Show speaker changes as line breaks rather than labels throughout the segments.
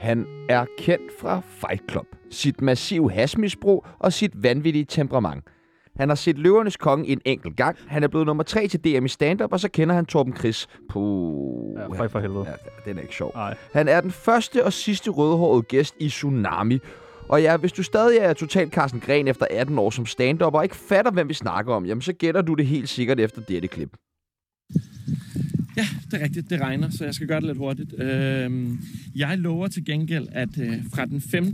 Han er kendt fra Fight Club, sit massive hasmisbrug og sit vanvittige temperament. Han har set Løvernes Konge en enkelt gang. Han er blevet nummer 3 til DM i stand-up, og så kender han Torben Chris. Puh.
Ja, føj for helvede.
Ja, den er ikke sjov.
Nej.
Han er den første og sidste rødhårede gæst i Tsunami. Og ja, hvis du stadig er totalt Carsten Gren efter 18 år som stand og ikke fatter, hvem vi snakker om, jamen så gætter du det helt sikkert efter dette klip.
Ja, det er rigtigt. Det regner, så jeg skal gøre det lidt hurtigt. Øhm, jeg lover til gengæld, at øh, fra den 5.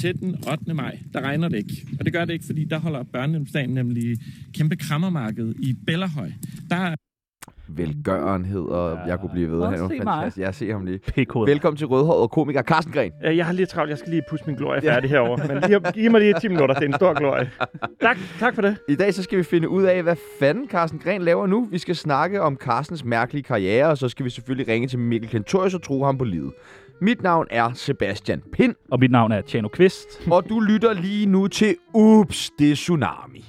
til den 8. maj, der regner det ikke. Og det gør det ikke, fordi der holder børnehjemsdagen nemlig kæmpe krammermarked i Bellerhøj. Der er
Velgørenhed, og ja. jeg kunne blive ved.
Åh,
Han var
se mig.
fantastisk. Jeg ser ham lige.
Pikhoved.
Velkommen til rødhåret komiker Carsten Gren.
Øh, Jeg har lige travlt. Jeg skal lige pusse min glorie færdig herover. Men lige, giv mig lige 10 minutter. Det er en stor glorie. Tak, tak for det.
I dag så skal vi finde ud af, hvad fanden Carsten Gren laver nu. Vi skal snakke om Carstens mærkelige karriere, og så skal vi selvfølgelig ringe til Mikkel Kentorius og tro ham på livet. Mit navn er Sebastian Pind,
Og mit navn er Tjano Kvist.
og du lytter lige nu til Ups, det er Tsunami.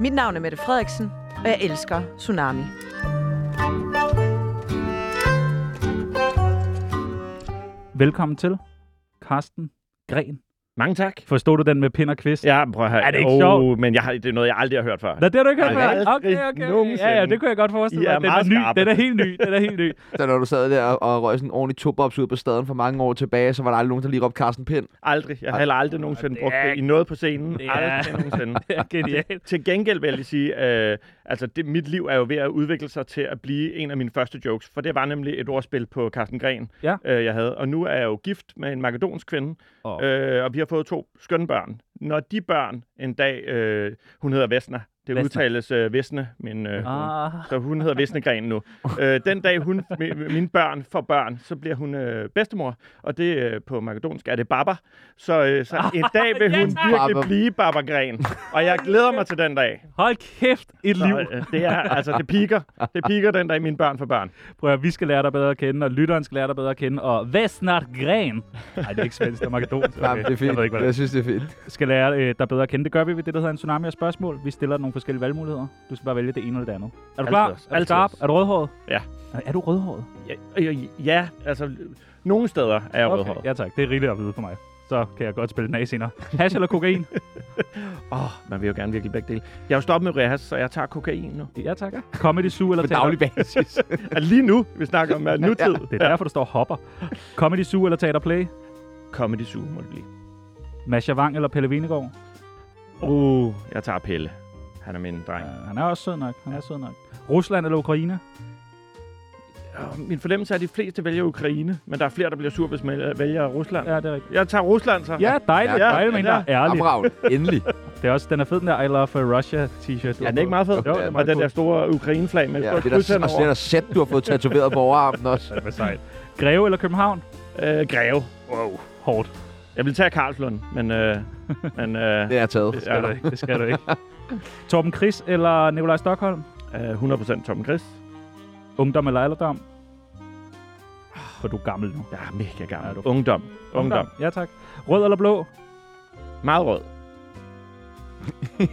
Mit navn er Mette Frederiksen, og jeg elsker Tsunami.
Velkommen til, Karsten Gren.
Mange tak.
Forstod du den med Pind og Kvist?
Ja, prøv at høre.
Er det ikke sjovt?
Men jeg har, det er noget, jeg aldrig har hørt før.
Nå, det har du ikke hørt
Nej,
før?
aldrig
Okay, okay, okay.
nogensinde.
Ja, ja, det kunne jeg godt forestille
I
mig.
er
Den er,
meget
ny.
skarpe.
Den er helt ny. Den er helt ny.
Så når du sad der og røg sådan en ordentlig tubops ud på staden for mange år tilbage, så var der aldrig nogen, der lige råbte Carsten Pind.
Aldrig. Jeg har heller aldrig nogensinde
det
brugt
er-
det i noget på scenen.
det er-
Aldrig nogensinde.
Det er genialt.
Til gengæld vil jeg lige sige, øh, altså det, mit liv er jo ved at udvikle sig til at blive en af mine første jokes, for det var nemlig et ordspil på Carsten Gren,
Ja.
øh, jeg havde. Og nu er jeg jo gift med en makedonsk kvinde,
Åh.
oh. øh, og vi har fået to skønne børn. Når de børn en dag, øh, hun hedder Vesna, det
Vesna.
udtales øh, Vesne, men øh, ah.
Ah,
så hun hedder Vesnegren nu. øh, den dag hun, mi- mine børn får børn, så bliver hun øh, bedstemor, og det øh, på makedonsk er det Baba. Så, øh, så en dag vil
Ah, Ja,
hun
tak.
virkelig
Baba.
blive Baba Gren, og jeg glæder mig til den dag.
hold kæft, et
Så,
liv.
øh, det er, altså, det piker. Det piker den dag, mine børn får børn.
Prøv at, høre, vi skal lære dig bedre at kende, og lytteren skal lære dig bedre at kende, og hvad snart gren? Nej, det er ikke svensk, det er makedonsk.
Nej, men det er
Jeg
fint.
ved ikke,
Jeg,
hvad det
synes, det er fint.
er. skal lære øh, dig bedre at kende. Det gør vi ved det, der hedder en tsunami af spørgsmål. Vi stiller dig nogle forskellige valgmuligheder. Du skal bare vælge det ene eller det andet. Er du klar?
Altid os.
Er du
Altid
skarp?
os.
Er du rødhåret?
Ja.
Er- Er du rødhåret?
Ja, øh, ja altså, nogle steder er jeg okay, rødhåret.
ja tak. Det er rigeligt at vide for mig. Så kan jeg godt spille den af senere. Hash eller kokain?
Åh, oh, man vil jo gerne virkelig begge dele. Jeg er jo stoppet med rehas, så jeg tager kokain nu.
ja tak. Comedy Zoo eller
På
teater?
daglig basis.
Altså, lige nu, vi snakker om uh, nutid.
Det er derfor, du står og hopper. Comedy Zoo eller Teater Play?
Comedy Zoo må det blive.
Masha Wang eller Pelle Venegård?
Uh, jeg tager Pelle. Han er min dreng.
Ja, han er også sød nok. Han er sød nok. Rusland eller Ukraine?
Ja. Min fornemmelse er, at de fleste vælger Ukraine, men der er flere, der bliver sur, hvis man vælger Rusland. Ja.
Ja, det er rigtigt.
Jeg tager Rusland så.
Ja, dejligt. Ja,
Ja,
dejligt, men
ja.
der er ærligt.
Amravn, endelig.
Det er også, den er fed, den der I love uh, Russia t-shirt. du
Ja,
har
den er ikke
på.
meget fed.
Jo, den er
og
meget
den
cool.
der store Ukraine-flag med
Ja,
ja, et
det
stort
der,
krydshand
og det
over.
der sæt, du har fået tatoveret på overarmen også.
Det er sejt. Greve eller København?
Øh, Greve. Wow.
Hårdt.
Jeg vil tage Karlslund, men... Øh, men øh,
Det er jeg taget.
Det skal, du ikke. Det skal du ikke. Torben Chris eller Nikolaj Stockholm?
øh, 100% Tom Chris.
Ungdom eller alderdom? For du er gammel nu.
Jeg er mega gammel.
Er du?
Ungdom. Ungdom.
Ja, tak. Rød eller blå?
Meget rød.
Ja,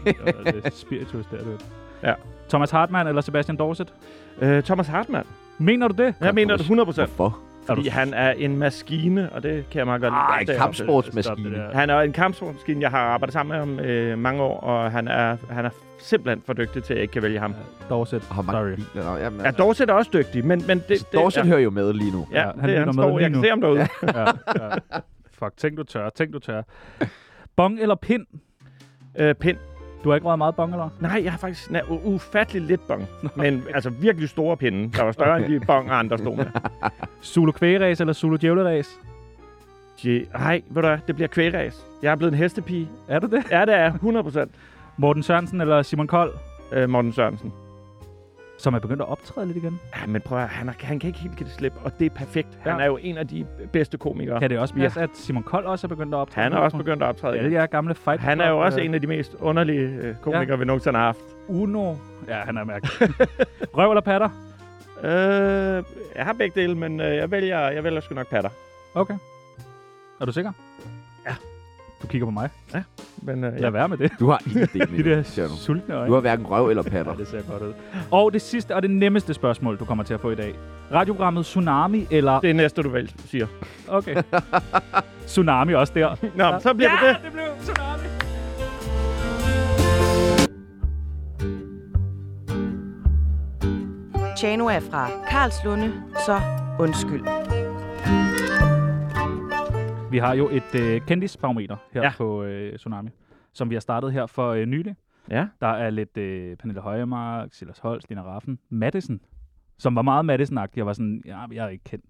det er spiritus, der du.
Ja.
Thomas Hartmann eller Sebastian Dorset?
Øh, Thomas Hartmann.
Mener du det?
Jeg mener det 100%.
Hvorfor?
Er du
Fordi han er en maskine, og det kan jeg meget godt lide.
Ej,
Det er-
Stop det
kampsportsmaskine.
der.
Han er en kampsportsmaskine, jeg har arbejdet sammen med ham øh, mange år, og han er, han er simpelthen for dygtig til, at jeg ikke kan vælge ham.
Dorset.
Og har mange
Sorry.
biler. Nå, jamen, altså,
Ja, Dorset er også dygtig, men, men det, det,
Dorset
ja,
hører jo med lige nu.
ja,
Ja,
ja,
han
det
lytter
er han
med
står.
lige
Jeg kan
nu.
se ham derude. Ja.
ja, ja. Fuck, tænk du tør. Tænk du tør. Bong eller pind?
Øh, pind.
Du har ikke røget meget bong, eller?
Nej, jeg har faktisk na- u- ufattelig lidt bong, men altså virkelig store pinde, der var større end de bong, andre stod med.
Zulu kvægeræs eller Zulu djævleræs?
Je- Ej, ved du hvad, det bliver kvægræs. Jeg er blevet en hestepige.
Er du det?
Ja, det er jeg, 100 procent.
Morten Sørensen eller Simon Kold,
Øh, Morten Sørensen.
som er begyndt at optræde lidt igen.
Ja, men prøv at høre, han, er, han kan ikke helt give det slip, og det er perfekt. Han
Ja.
er jo en af de bedste komikere.
Kan det også
Ja.
passe, at Simon Kold også er begyndt at optræde?
Han er også begyndt at optræde. igen.
Alle jer gamle fight
Han er jo
Club,
også
øh,
en af de mest underlige øh, komikere, vi nogensinde har haft.
Uno. Ja, han er mærkelig. Røv eller patter?
Øh, jeg har begge dele, men øh, jeg, vælger, jeg vælger sgu nok patter.
Okay. Er du sikker?
Ja.
Du kigger på mig.
Men øh,
Lad
ja.
være med det.
Du har ingen idé,
De der
Mikkel, siger du.
sultne øjne.
Du har hverken røv eller patter.
Ja, det ser godt ud. Og det sidste og det nemmeste spørgsmål, du kommer til at få i dag. Radioprogrammet Tsunami eller...
det er næste, du vælger, siger.
Okay. Tsunami også der.
Nå, ja. så bliver det
ja,
det.
det blev Tsunami.
Tjano er fra Karlslunde, så undskyld.
Vi har jo et øh, kendisbarometer her ja.
Ja.
på øh, Tsunami, som vi har startet her for øh, nylig.
Ja.
Der er lidt øh, Pernille Højemark, Silas Holst, Lina Raffen, Madison, som var meget Madison-agtig. Jeg var sådan, ja, jeg er ikke kendt.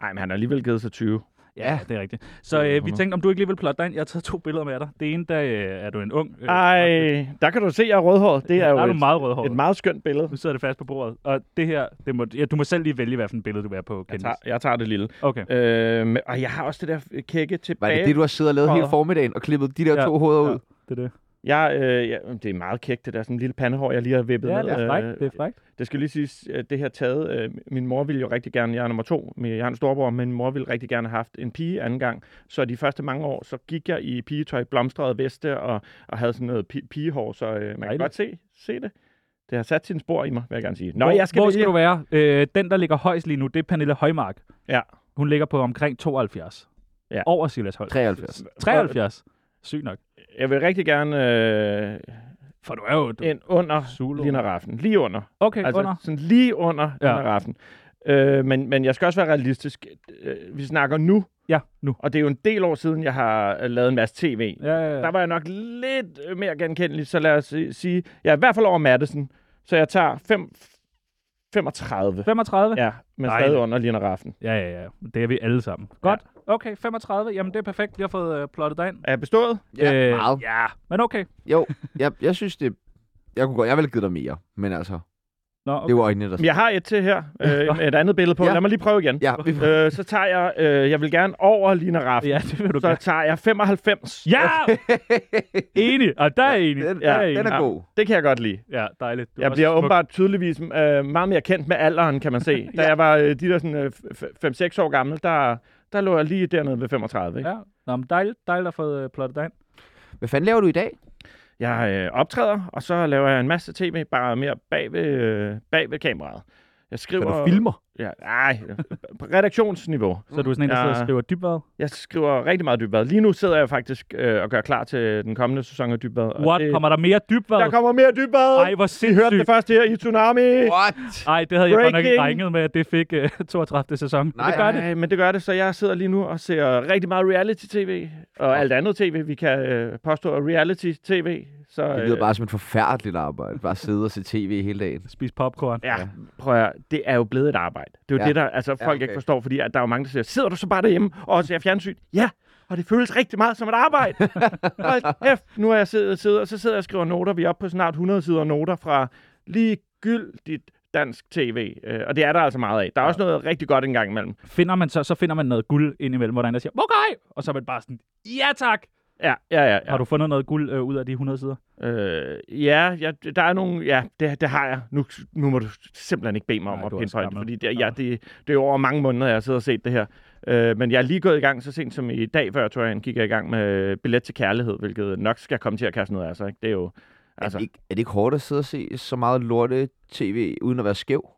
Nej, men han har alligevel givet sig 20.
Ja, det er rigtigt. Så øh, vi tænkte, om du ikke lige vil plotte dig ind. Jeg har taget to billeder med dig. Det ene, der øh, er du en ung. Øh,
Ej, der kan du se, at jeg er rødhåret. Det er
der
jo
er du
et,
meget rødhåret.
et meget skønt billede.
Nu sidder det fast på bordet. Og det her, det må, ja, du må selv lige vælge, hvad for en billede du vil have på
Jeg
kendis.
tager, jeg tager det lille.
Okay.
Øh, men- og jeg har også det der kække
Var
tilbage.
det det, du har siddet og lavet hele
Fader.
formiddagen og klippet de der
Ja.
to hoveder ud?
Det er det.
Jeg, øh, jeg, det er meget kægt, det der sådan lille pandehår, jeg lige har vippet
Ja, det
ned.
er
Øh,
frækt. Det er frækt.
Det skal lige siges, at det her taget, øh, min mor ville jo rigtig gerne, jeg er nummer to, men jeg har en storbror, men min mor ville rigtig gerne have haft en pige anden gang. Så de første mange år, så gik jeg i pigetøj, blomstrede veste og, og havde sådan noget pi- pigehår, så øh, man kan
Dejligt.
godt se, se det. Det har sat sine spor i mig, vil jeg gerne sige. Nå,
hvor,
jeg skal
hvor
vælge-
skal du være? Øh, den, der ligger højst lige nu, det er Pernille Højmark.
Ja.
Hun ligger på omkring 72.
Ja.
Over Silas Holst.
73.
73. Sygt nok.
Jeg vil rigtig gerne øh,
For du er jo... Du...
ind under
Zulu.
Lina Raffen. Lige under.
Okay,
Altså
altså, under.
sådan lige under
Ja.
ja. Lina Raffen. Øh, men, men jeg skal også være realistisk. Øh, vi snakker nu,
Ja, nu.
og det er jo en del år siden, jeg har øh, lavet en masse tv.
Ja, ja,
Der
ja.
var jeg nok lidt øh, mere genkendelig, så lad os øh, sige, jeg er i hvert fald over Madison, så jeg tager 5, 35.
35?
Ja, men
Nej.
stadig under Lina Raffen.
Ja, ja, ja. Det er vi alle sammen. Godt. Okay, 35. Jamen, det er perfekt. Vi har fået øh, plottet dig ind.
Er jeg bestået?
Ja,
Øh,
meget.
Ja, men okay.
Jo, jeg, jeg synes det... Jeg kunne godt, jeg ville have givet dig mere, men altså,
Nå, okay.
det var øjnene, der...
Jeg har et til her, øh, et andet billede på.
Ja.
Lad mig lige prøve igen.
Ja, vi,
Øh, så tager jeg, øh, jeg vil gerne over Lina Raffen,
Ja, det vil du
så
gerne.
tager jeg 95.
Ja! enig. Og der er enig.
den,
der er
den
enig.
er god.
Det kan jeg godt lide.
Ja, dejligt. Du er
Jeg
også
bliver
smuk.
åbenbart tydeligvis øh, meget mere kendt med alderen, kan man se. Da jeg var øh, de der sådan, øh, 5-6 år gammel, der, der lå jeg lige dernede ved 35. Ikke?
Ja. Nå, men dejligt, dejligt at have fået øh, plottet dig ind.
Hvad fanden laver du i dag?
Jeg øh, optræder, og så laver jeg en masse tv, bare mere bag ved, øh, bag ved kameraet. Jeg
Hvad
skriver...
du filmer?
Ja, nej, på redaktionsniveau.
Så du er sådan en, der sidder og
Ja.
skriver dybvad.
Jeg skriver rigtig meget dybvad. Lige nu sidder jeg faktisk øh, og gør klar til den kommende sæson af dybvad. og
What?
det-
Kommer der mere dybvad?
Der kommer mere dybvad!
Ej, hvor
I hørte det
sindssygt.
først her i Tsunami!
What?
Ej, det havde jeg godt nok ikke
Breaking.
regnet med, at det fik øh, 32. sæson. Men
Nej,
det gør det.
Ej, men det gør det, så jeg sidder lige nu og ser rigtig meget reality-tv. Og alt andet tv, vi kan øh, påstå er reality-tv. Så, øh,
Det lyder bare som et forfærdeligt arbejde. Bare sidde og se tv hele dagen.
Spis popcorn.
Ja, prøv at, høre, det er jo blevet et arbejde. Det er jo
Ja.
ja. det, der altså, folk
Ja,
ja,
okay.
okay. ikke forstår, fordi at der er jo mange, der siger, sidder du så bare derhjemme og ser fjernsyn? Ja, og det føles rigtig meget som et arbejde. Hold kæft, nu har jeg siddet, siddet, og så sidder jeg og skriver noter. Vi er oppe på snart 100 sider noter fra ligegyldigt dansk tv. Øh, og det er der altså meget af. Der er ja. også noget rigtig godt engang imellem.
Finder man så, så finder man noget guld indimellem, hvor der er en, der siger, okay! Og så er man bare sådan, ja tak!
Ja, ja, ja.
Ja. Har du fundet noget guld øh, ud af de 100 sider?
ja. Øh, ja, ja, der er nogle... Ja, det, det har jeg. Nu, nu må du simpelthen ikke bede mig om
Nej,
at
du er også
pinpointe,
gammel.
fordi det, ja, det, det er jo over mange måneder, jeg har siddet og set det her. Øh, men jeg er lige gået i gang, så sent som i dag før turneringen, gik jeg i gang med Billet til Kærlighed, hvilket nok skal komme til at kaste noget af sig. Ikke? Det er jo...
Altså. Er,
Altså,
det ikke, er det ikke hårdt at sidde og se så meget lorte tv, uden at være skæv?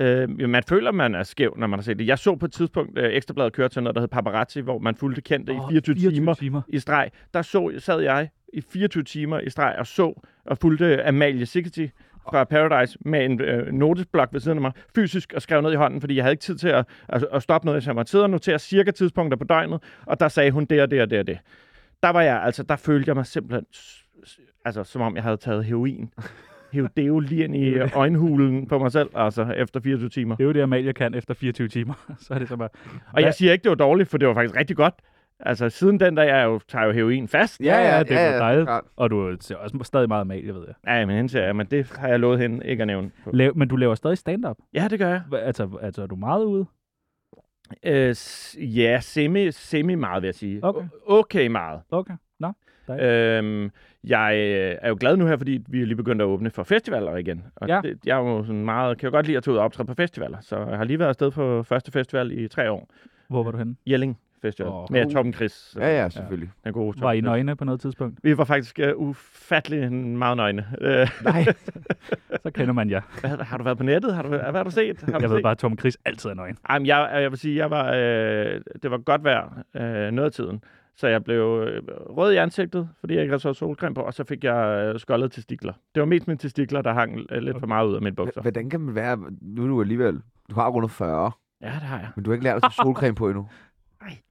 øh, man føler, man er skæv, når man har set det. Jeg så på et tidspunkt øh, Ekstrabladet køre til noget, der hed Paparazzi, hvor man fulgte kendte
Åh,
i 24, 24 timer
timer.
i streg. Der så, sad jeg i 24 timer i streg og så og fulgte Amalie Sigeti fra Paradise med en øh, notesblok ved siden af mig, fysisk og skrev ned i hånden, fordi jeg havde ikke tid til at, at, at stoppe noget. Så jeg måtte sidde og notere cirka tidspunkter på døgnet, og der sagde hun det og det og det og det. Der var jeg, altså, der følte jeg mig simpelthen, s- s- altså, som om jeg havde taget heroin. Herodeo lige ind i øjenhulen på mig selv, altså, efter 24 timer.
Det er jo det, Amalie kan efter 24 timer. så er det så bare,
Og jeg siger ikke, det var dårligt, for det var faktisk rigtig godt. Altså, siden den der, jeg jo, tager jo heroin fast.
det er ja, dejligt.
klart.
Og du øh, ser også stadig meget Amalie, ved jeg.
Ja, men hende ser jeg, men det har jeg lovet hende ikke at nævne. På.
Lav, men du laver stadig stand-up.
Ja, det gør jeg.
Hva- Altså, altså, er du meget ude?
Øh, s- ja, semi, semi meget, vil jeg sige.
Okay.
O- okay meget.
Okay. Nå.
Øhm, jeg øh, er jo glad nu her, fordi vi er lige begyndt at åbne for festivaler igen. Og
Ja.
det, jeg er jo sådan meget, kan jo godt lide at tage ud og optræde på festivaler, så jeg har lige været afsted på første festival i tre år.
Hvor var du henne?
Jelling Festival
Åh.
med Tom Chris, øh,
Ja, ja, selvfølgelig.
den gode Tom
Var I
Chris.
nøgne på noget tidspunkt?
Vi var faktisk øh, ufattelig meget nøgne. Øh,
Nej.
Så kender man jer.
hvad, har du været på nettet? Har du, hvad har du set? Har du
Jeg
set?
ved bare, at Tom Chris altid er nøgen.
Ej, men jeg, jeg vil sige, jeg var, øh, det var godt vejr øh, noget af tiden. Så jeg blev øh, rød i ansigtet, fordi jeg ikke havde så solcreme på, og så fik jeg øh, skoldet testikler. Det var mest mine testikler, der hang øh, lidt for meget ud af mine bukser.
Hvordan kan man være... Nu er du alligevel... Du har rundet 40,
Ja, det har jeg.
men du har ikke lært at tage solcreme på endnu.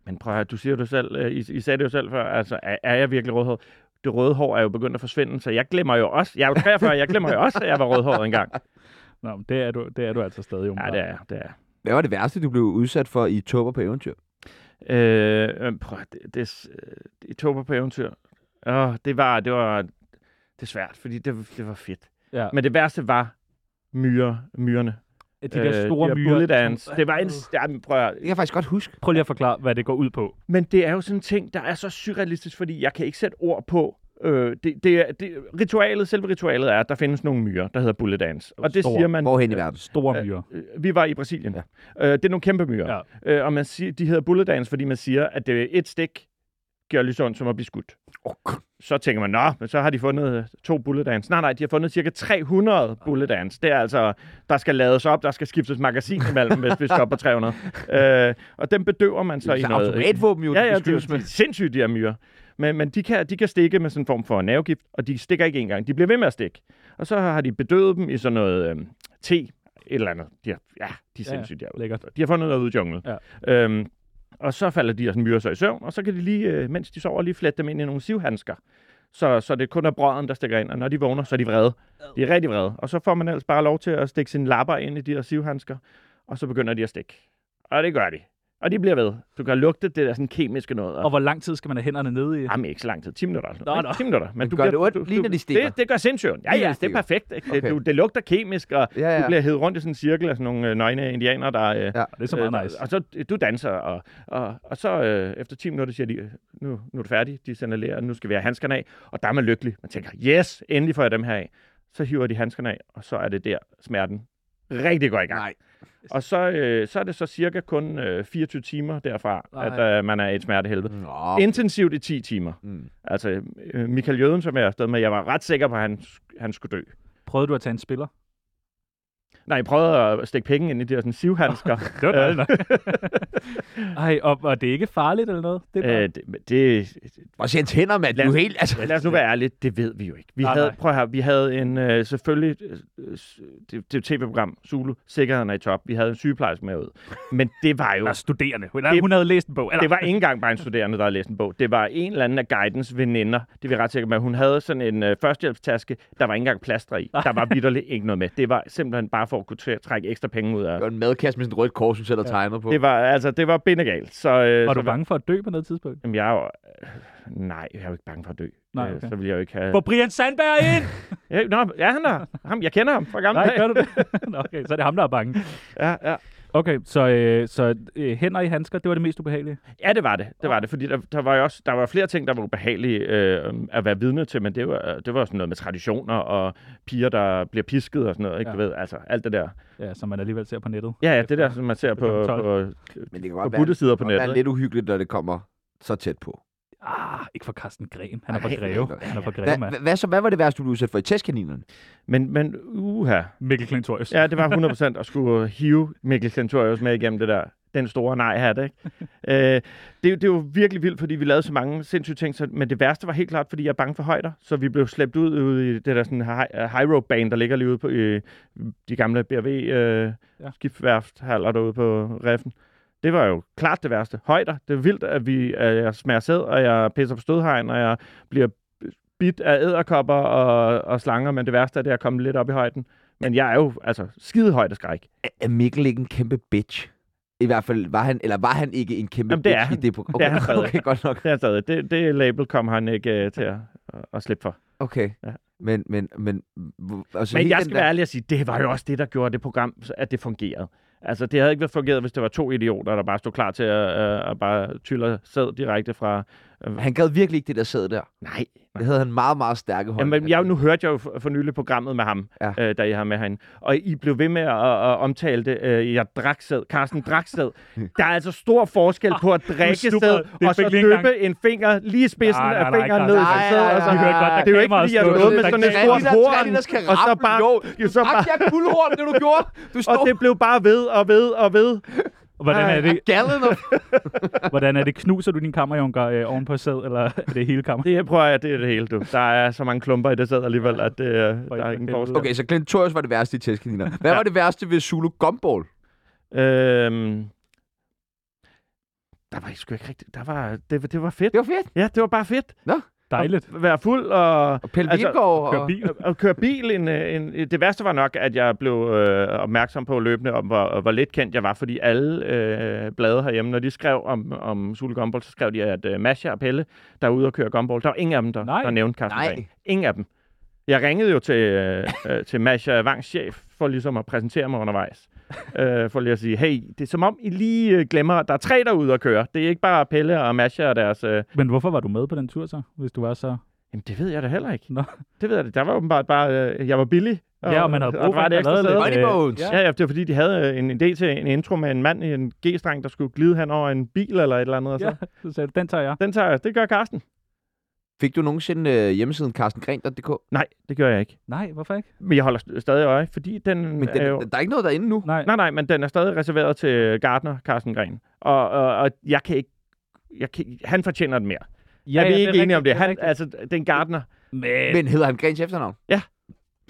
Men prøv at høre, du siger det selv, øh, I, I sagde det jo selv før, altså er, er jeg virkelig rødhåret? Det røde hår er jo begyndt at forsvinde, så jeg glemmer jo også, jeg er jo 43, jeg glemmer jo også, at jeg var rødhåret engang.
Nå, men det er du, det er du altså stadig,
Ja,
umiddelbart.
det er jeg, det er jeg.
Hvad var det værste, du blev udsat for i Topper på eventyr?
Øh, øh, prøv, at- det, det, er s- øh, det, Tober på eventyr. Åh, det var, det var, det er svært, fordi det, det var fedt.
Ja.
Men det værste var myre, myrerne.
Men, de der
Øh,
store
de
myrer.
bullet ants.
som-
Det var en... Ja, men, prøv, at-
Det kan jeg faktisk godt huske.
Prøv lige at forklare, hvad det går ud på.
men det er jo sådan en ting, der er så surrealistisk, fordi jeg kan ikke sætte ord på, Øh, det, det, er- det, ritualet, selve ritualet er, at der findes nogle myrer, der hedder bullet ants. Og det
Store.
siger man...
Hvorhen i verden?
Store myrer.
Øh, Vi var i Brasilien. Ja. Øh, det er nogle kæmpe myrer.
Ja.
Øh, og man siger, de hedder bullet ants, fordi man siger, at det er et stik gør lige sådan, som at blive skudt.
Oh,
så tænker man, nå, men så har de fundet øh, to bullet ants. Nej, nej, de har fundet cirka 300 bullet ants. Det er altså, der skal lades op, der skal skiftes magasin imellem, hvis vi skal op på 300. Øh, og dem bedøver man så i
så
noget.
automatvåben jo,
Ja, ja, det
beskyttes
er sindssygt, de her myrer. Men, men de, kan, de kan stikke med sådan en form for nervegift, og de stikker ikke engang. De bliver ved med at stikke. Og så har de bedøvet dem i sådan noget øh, te, et eller andet. De har, ja, de er
Ja,
sindssygt derude.
Lækkert.
De har fundet noget ud i junglen. Ja. Øhm, og så falder de her sådan myrer sig i søvn, og så kan de lige, øh, mens de sover, lige flette dem ind i nogle sivhandsker. Så, så det kun er brøden, der stikker ind, og når de vågner, så er de vrede. De er rigtig vrede. Og så får man ellers bare lov til at stikke sine lapper ind i de her sivhandsker, og så begynder de at stikke. Og det gør de. Og de bliver ved. Du kan lugte det der sådan kemiske noget. Og,
Og hvor lang tid skal man have hænderne nede i?
Jamen, ikke så lang tid. 10 minutter. Eller sådan
Nå,
noget,
nå.
ikke? 10 minutter.
Men gør det ondt, lige når de stikker?
Det, det gør sindssygt. ondt. Ja,
Lige når
ja,
de
det
stikker?
er perfekt. ikke? Det,
Okay.
okay. du, det lugter kemisk, og
Ja, ja.
du bliver hævet rundt i sådan en cirkel af sådan nogle øh, nøgne indianere, der... Øh,
Det er så meget nice.
og så øh, du danser, og, og, og så øh, efter 10 minutter siger de, øh, nu, nu er du færdig, de signalerer, nu skal vi have handskerne af, og der er man lykkelig. Man tænker, yes, endelig får jeg dem her af. Så hiver de handskerne af, og så er det der, smerten rigtig går i gang.
Nej.
Og så, øh, så er det så cirka kun øh, 24 timer derfra,
Nej.
at øh, man er i et smertehelvede.
Nå.
Intensivt i 10 timer.
Mm.
Altså, øh, Michael Jøden, som jeg er afsted med, jeg var ret sikker på, at han, han skulle dø.
Prøvede du at tage en spiller?
Nej, jeg prøvede at stikke penge ind i de her sådan, sivhandsker.
Det var dejligt nok. Ej, og, og det er ikke farligt eller noget? Det er bare...
Øh, det, men det,
Og se tænder, mand. Du
Lad
er
os-
helt... Altså,
Lad os nu være ærlige, det ved vi jo ikke. Vi
Nej,
havde,
nej.
Prøv her, vi havde en, øh, selvfølgelig, øh, s- det, det tv-program, Zulu, Sikkerheden er i top. Vi havde en sygeplejerske med ud. Men det var jo,
Eller studerende. Hun, det... hun havde læst en bog. Eller...
det var ikke engang bare en studerende, der havde læst en bog. Det var en eller anden af guidens veninder, det er vi ret sikre med. Hun havde sådan en øh, førstehjælpstaske, der var ikke engang plaster i. Der var vidderligt ikke noget med. Det var simpelthen bare for at kunne træ- trække ekstra penge ud af.
Det var en madkasse med sådan et rødt kors, hun sætter ja. tegnet på.
Det var, altså, det var bindegalt. Så, øh,
Var
så,
du bange for at dø på noget tidspunkt?
Jamen, jeg er jo, øh, nej, jeg er jo ikke bange for at dø.
Nej,
Øh,
okay.
Så vil jeg jo ikke have...
Hvor Brian Sandberg er ind!
Ja, nå, ja, han er. Ham, jeg kender ham fra gamle
Nej,
dage.
gør du det? Nå, okay, så er det ham, der er bange.
Ja, ja.
Okay, så, øh, så øh, hænder i handsker, det var det mest ubehagelige.
ja, det var det. Det var det, fordi der, der var jo også der var flere ting, der var ubehagelige øh, at være vidne til, men det var, det var sådan noget med traditioner og piger, der bliver pisket og sådan noget, ikke?
Ja.
Du ved, altså alt det der.
Ja, som man alligevel ser på nettet.
Ja, ja, det der, som man ser på,
klokken
på,
Men det kan godt
på
være, det
buddesider på
kan godt
nettet.
være
ikke?
lidt uhyggeligt, når det kommer så tæt på.
Ah, ikke for Carsten Gren. Han er fra
Nej,
Greve.
nej, nej.
Han er fra Greve, mand.
Hvad, hvad, så, hvad var det værste, du blev udsat for i testkaninerne?
Men, men uha.
Mikkel Klintorius.
Ja, det var 100% at skulle hive Mikkel Klintorius med igennem det der den store nej-hat, ikke? øh, det, er jo- det er jo virkelig vildt, fordi vi lavede så mange sindssyge ting, så, men det værste var helt klart, fordi jeg er bange for højder, så vi blev slæbt ud, ud i det der sådan high, high road bane, der ligger lige ude på øh, de gamle BRV øh,
Ja.
ja. skibsværfthaller derude på Reffen. Det var jo klart det værste. Højder, det er vildt, at, vi, at jeg smager sæd, og jeg pisser på stødhegn, og jeg bliver bit af æderkopper og, og slanger, men det værste er det at komme lidt op i højden. Men jeg er jo altså skide højdeskræk.
Er- Er Mikkel ikke en kæmpe bitch? I hvert fald var han, eller var han ikke en kæmpe
Jamen, det er
bitch
han.
i det program?
Det er han
Okay,
stadig.
okay, godt nok.
Det, er stadig, det, det label kom han ikke øh, til at, at slippe for.
Okay.
Ja.
Men, men, men... hvor- Altså,
Men
hele
jeg
den
skal
der-
være ærlig at sige, det var jo også det, der gjorde det program, at det fungerede. Altså, det havde ikke været fungeret, hvis det var to idioter, der bare stod klar til at, øh, at bare tylle sæd direkte fra...
Han gad virkelig ikke det, der sad der.
Nej,
Det havde han meget, meget stærke hold.
Jamen, jeg, nu hørte jeg jo for, for nylig programmet med ham,
Ja.
ja. øh, da I har med herinde. Og I blev ved med at, at omtale det. Øh, jeg draksted. Carsten Draksted. Der er altså stor forskel på at
stupret.
drikke sted,
Det
og så
fik lige en gang.
dyppe en finger lige i spidsen
Nej, nej,
af
nej,
fingeren
Carsten.
ned i
Nej,
sig selv.
nej,
og så-
nej,
Vi hørte godt, der
Det er jo ikke,
kameraet
fordi jeg
stod.
er noget med sådan
Der er
en stor
tre liters- tre
horn,
liters karaffel,
og så bare,
jo.
jo, så
Ak,
bare,
jeg guldhorn, det du gjorde. Du stod
og det blev bare ved og ved og ved.
Hvordan er det,
gallen og
hvordan er det? Knuser du din kammerjunker øh, oven på sæd, eller er det hele kammer?
Det her prøver jeg, det er det hele, du. Der er så mange klumper i det sæd alligevel, at det, øh, der er ingen
helvede.
forskel.
Okay, så Glentorius var det værste i tæskaniner. Hvad var det værste ved Zulu Gumball?
Øhm, der var sgu ikke rigtigt. Der var, det, det var fedt.
Det var fedt.
Ja, det var bare fedt.
Dejligt.
At være fuld og,
Og Pelle
Altså,
altså, og...
Kør bil.
og, og køre bil. En, øh, en, det værste var nok, at jeg blev øh, opmærksom på løbende, om hvor, hvor lidt kendt jeg var, fordi alle øh, blade herhjemme, når de skrev om, om Sule Gumball, så skrev de, at øh, Masha og Pelle, der er ude og køre Gumball, der var ingen af dem, der,
Nej.
der nævnte Carsten
Nej.
Dahl. Ingen af dem. Jeg ringede jo til, øh, øh, til Masha Wangs chef, for ligesom at præsentere mig undervejs. øh, for lige at sige, hey, det er som om, I lige øh, glemmer, at der er tre derude at køre. Det er ikke bare Pelle og Masha og deres... Øh,
Men hvorfor var du med på den tur så, hvis du var så...
Jamen, det ved jeg da heller ikke.
Nå.
Det ved jeg da. Der var åbenbart bare, øh, jeg var billig.
Ja, og man havde brug for,
var
at
et
der
ekstra
lavede
sæde.
lidt.
Bunny
Øh,
Bones.
Ja, ja, det var fordi, de havde øh, en idé til en intro med en mand i en G-streng, der skulle glide hen over en bil eller et eller andet. Og så.
Ja, så sagde du, den tager jeg.
Den tager jeg. Det gør Karsten.
Fik du nogensinde øh, hjemmesiden carstengren.dk?
Nej, det gør jeg ikke.
Nej, hvorfor ikke?
Men jeg holder st- stadig øje, fordi den,
Men den,
er jo...
der er ikke noget derinde nu.
Nej.
Nej, nej, men den er stadig reserveret til Gardner, Carsten Gren. Og, og, og jeg kan ikke... Jeg kan, han fortjener den mere. Ja, er vi
det
ikke enige
rigtigt,
om det? Han,
rigtigt.
altså, det er en Gardner.
Men,
Men hedder han Grens efternavn?
Ja.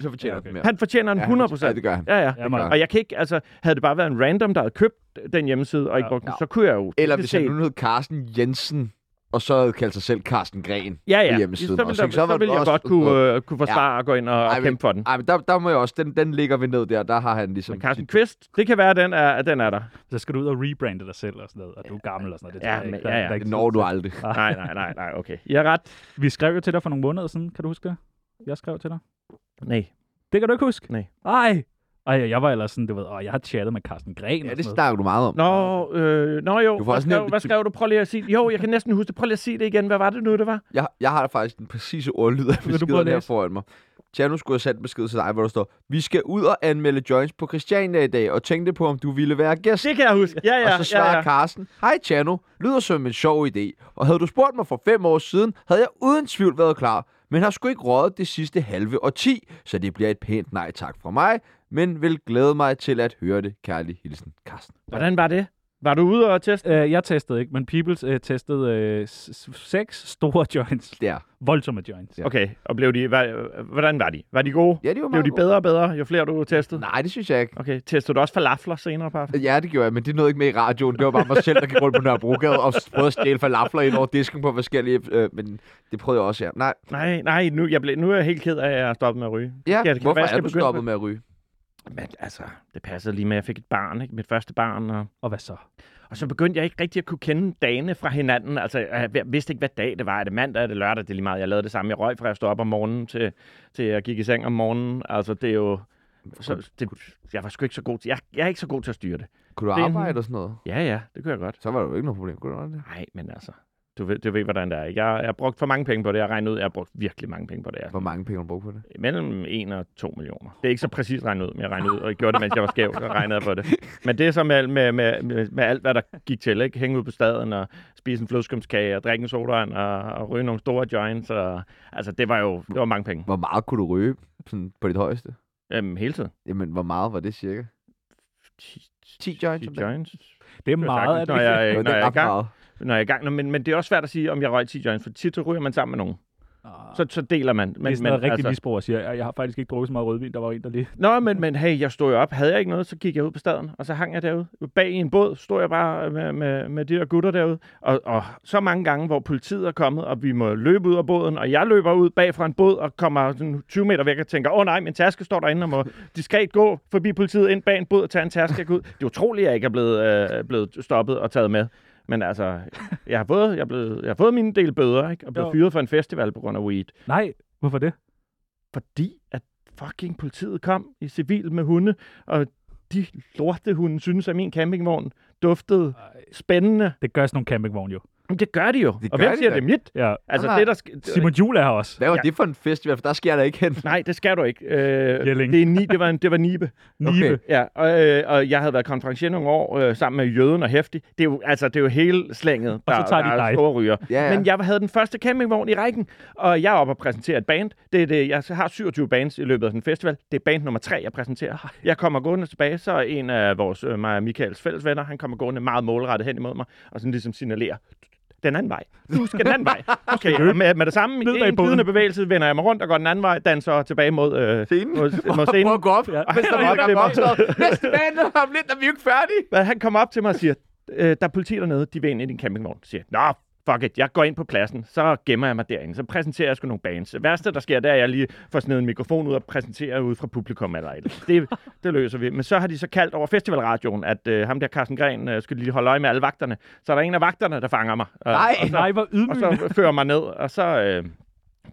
Så fortæller
Ja,
ja,
okay.
okay. mere.
Han fortjener den 100
Ja, det gør han.
Ja, ja.
ja, man,
gør
Og jeg kan ikke, altså, havde det bare været en random, der havde købt den hjemmeside og ikke
Ja.
brugt den,
Ja.
så kunne jeg jo.
Eller
det
hvis han nu hed Carsten Jensen, og så havde kaldt sig selv Carsten Gren.
ja, ja.
hjemmesiden
Så
også,
ville, der,
ikke? Så
så
var
ville
det
jeg
også-
godt kunne, øh, kunne forsvare og gå ind og,
Ej,
og
men-
kæmpe for den.
Ej, men der, der må jeg også, den, den ligger vi ned der, der har han ligesom...
Men Carsten Kvist, det kan være, at den er, at den er der.
så skal du ud og rebrande dig selv og sådan noget, og du er gammel og sådan noget. Det
Ja,
tager jeg
men-
ikke. Der-
ja, ja.
der er ikke
Det
tid
når du
til.
aldrig.
Nej, nej, nej, nej, okay. I er ret.
Vi skrev jo til dig for nogle måneder siden, kan du huske det? Jeg skrev til dig.
Nej.
Det kan du ikke huske?
Nej.
Ej. Ej, jeg var ellers sådan, du ved, åh, jeg har chattet med Carsten Gren
Ja,
og
det
sådan noget.
snakker du meget om.
Nå, øh, nå jo,
Du får
hvad
også
skrev,
nævnt-
hvad skrev du? Prøv lige at sige Jo, jeg kan næsten huske det. Prøv lige at sige det igen. Hvad var det nu, det var?
Jeg, jeg har faktisk den præcise ordlyd af
Vil du prøve at
beskeden her
læse?
foran mig. Tjerno skulle have sendt besked til dig, hvor der står, vi skal ud og anmelde joints på Christiania i dag, og tænkte på, om du ville være gæst.
Det kan jeg huske. Ja, ja,
og så svarer
ja, ja.
Carsten, hej Tjerno, lyder som en sjov idé, og havde du spurgt mig for fem år siden, havde jeg uden tvivl været klar, men har sgu ikke røget det sidste halve årti, så det bliver et pænt nej tak fra mig, men vil glæde mig til at høre det, kærlig hilsen, Carsten.
Hvordan var det? Var du ude og teste?
Øh, jeg testede ikke, men Peoples øh, testede øh, s- s- seks store joints.
Der.
Voldsomme joints.
Ja.
Okay, og blev de, hva, hvordan var de? Var de gode?
Ja, det var
Blev
meget
de bedre og bedre, jo flere du testede?
Nej, det synes jeg ikke.
Okay, testede du også falafler senere på aftenen?
Ja, det gjorde jeg, men det nåede ikke med i radioen. Det var bare mig selv, der gik rundt på Nørrebrogade og prøvede at stjæle falafler ind over disken på forskellige... Øh, men det prøvede jeg også, ja. Nej,
Nej, nej, nu, jeg ble, nu er jeg helt ked af, at jeg har stoppet med at ryge.
ja,
det kan
hvorfor
være, jeg
er
skal
du
begynde
stoppet
på-
med at ryge?
Men altså, det passede lige med, at jeg fik et barn, ikke? mit første barn. Og,
Og hvad så?
og så begyndte jeg ikke rigtig at kunne kende dagene fra hinanden. Altså, jeg jeg vidste ikke, hvad dag det var. Er det mandag, er det lørdag? Det er lige meget. Jeg lavede det samme. Jeg røg fra, jeg stod op om morgenen, til, til jeg gik i seng om morgenen. Altså, det er jo... Så, det, jeg var sgu ikke så god til, jeg, jeg er ikke så god til at styre det.
Kunne du
Det er en-
arbejde og sådan noget?
Ja, ja, det kunne jeg godt.
Så var der jo ikke noget problem. Kunne du godt det?
Nej, men altså, du ved, du ved hvordan det er. ikke? Jeg, jeg har brugt for mange penge på det. Jeg regner ud, jeg har brugt virkelig mange penge på det. altså. Jeg
Hvor mange penge har du brugt på det?
Mellem 1 og 2 millioner. Det er ikke så præcist regnet ud, men jeg regnede ud, og jeg gjorde det, mens jeg var skæv, så regnede jeg på det. Men det er så med, med, med, med, med alt, hvad der gik til, ikke? Hænge ud på staden, og spise en flødeskumskage, og drikke en sodavand, og, og ryge nogle store joints, og... Altså, det var jo det var mange penge.
Hvor meget kunne du ryge sådan på dit højeste?
Øhm, hele tiden.
Jamen, hvor meget var det cirka?
10,
10 joints om dagen?
joints.
Det er
Det er
meget,
sagtens,
at
når jeg,
Det var
når jeg er i
ret
gang.
meget.
Når jeg er i gang. Nå, men, men det er også svært at sige, om jeg røg 10 joints, for tit så ryger man sammen med nogen.
Så,
Så, så deler man.
men, det er sådan noget rigtig altså... misbrug at sige, jeg, jeg har faktisk ikke drukket så meget rødvin, der var en, der lige...
Nå, men, men hey, jeg stod jo op. Havde jeg ikke noget, så gik jeg ud på staden, og så hang jeg derude. Bag i en båd stod jeg bare med, med, med de der gutter derude. Og, og så mange gange, hvor politiet er kommet, og vi må løbe ud af båden, og jeg løber ud bag fra en båd og kommer sådan 20 meter væk og tænker, åh oh, nej, min taske står derinde, og må diskret gå forbi politiet ind bag en båd og tage en taske jeg går ud. Det er utroligt, at jeg ikke er blevet, øh, blevet stoppet og taget med. Men altså, jeg har fået, jeg er blevet, jeg har fået mine del bøder, ikke? Og blevet
Jo.
fyret for en festival på grund af weed
Nej, hvorfor det?
fordi at fucking politiet kom i civil med hunde, og de lorte hunde synes, at min campingvogn duftede spændende.
Det gør sådan nogle campingvogne jo.
Men det gør de jo.
Det
og
gør
hvem
de
siger,
da.
det er mit?
Ja.
Altså,
Nej, nej.
det der sk-
Simon Jul er her også.
Hvad var
Ja.
det for en festival? For der sker der ikke hen.
Nej, det skal du ikke. Øh,
Jelling.
det, er ni, det, var en, det var Nibe.
Nibe.
Ja, og, øh, og jeg havde været konferencier nogle år øh, sammen med Jøden og Hæftig. Det er jo, altså, det er jo hele slænget, der,
så tager de
der er
dig.
store ryger.
Ja, ja.
Men jeg havde den første campingvogn i rækken, og jeg er oppe og præsenterer et band. Det er det, jeg har 27 bands i løbet af den festival. Det er band nummer tre, jeg præsenterer. Jeg kommer gående tilbage, så er en af vores, øh, mig og Michaels fælles venner, han kommer gående meget målrettet hen imod mig, og sådan ligesom signalerer, den anden vej. Du skal den anden vej. Okay, og med, med det samme, i
Ned bag
en
båden.
glidende bevægelse, vender jeg mig rundt og går den anden vej, danser tilbage mod, øh,
Scenen.
mod, mod scenen.
Prøv at gå op,
Ja.
mens der
Ej,
var
det er
der
mig.
optaget. Næste band, om lidt er vi jo ikke færdige.
Men han kommer op til mig og siger, øh, der er politi dernede, de vil ind i din campingvogn. Så siger jeg, nå, fuck it, jeg går ind på pladsen, så gemmer jeg mig derinde, så præsenterer jeg sgu nogle bands. Det værste, der sker, det er, at jeg lige får snedet en mikrofon ud og præsenterer ud fra publikum eller et eller andet. det, det løser vi. Men så har de så kaldt over festivalradioen, at øh, ham der Carsten Gren øh, skulle lige holde øje med alle vagterne. Så er der en af vagterne, der fanger mig. Øh,
Nej.
og så-
Nej, hvor
og
ydmygende.
så fører mig ned, og så... Øh,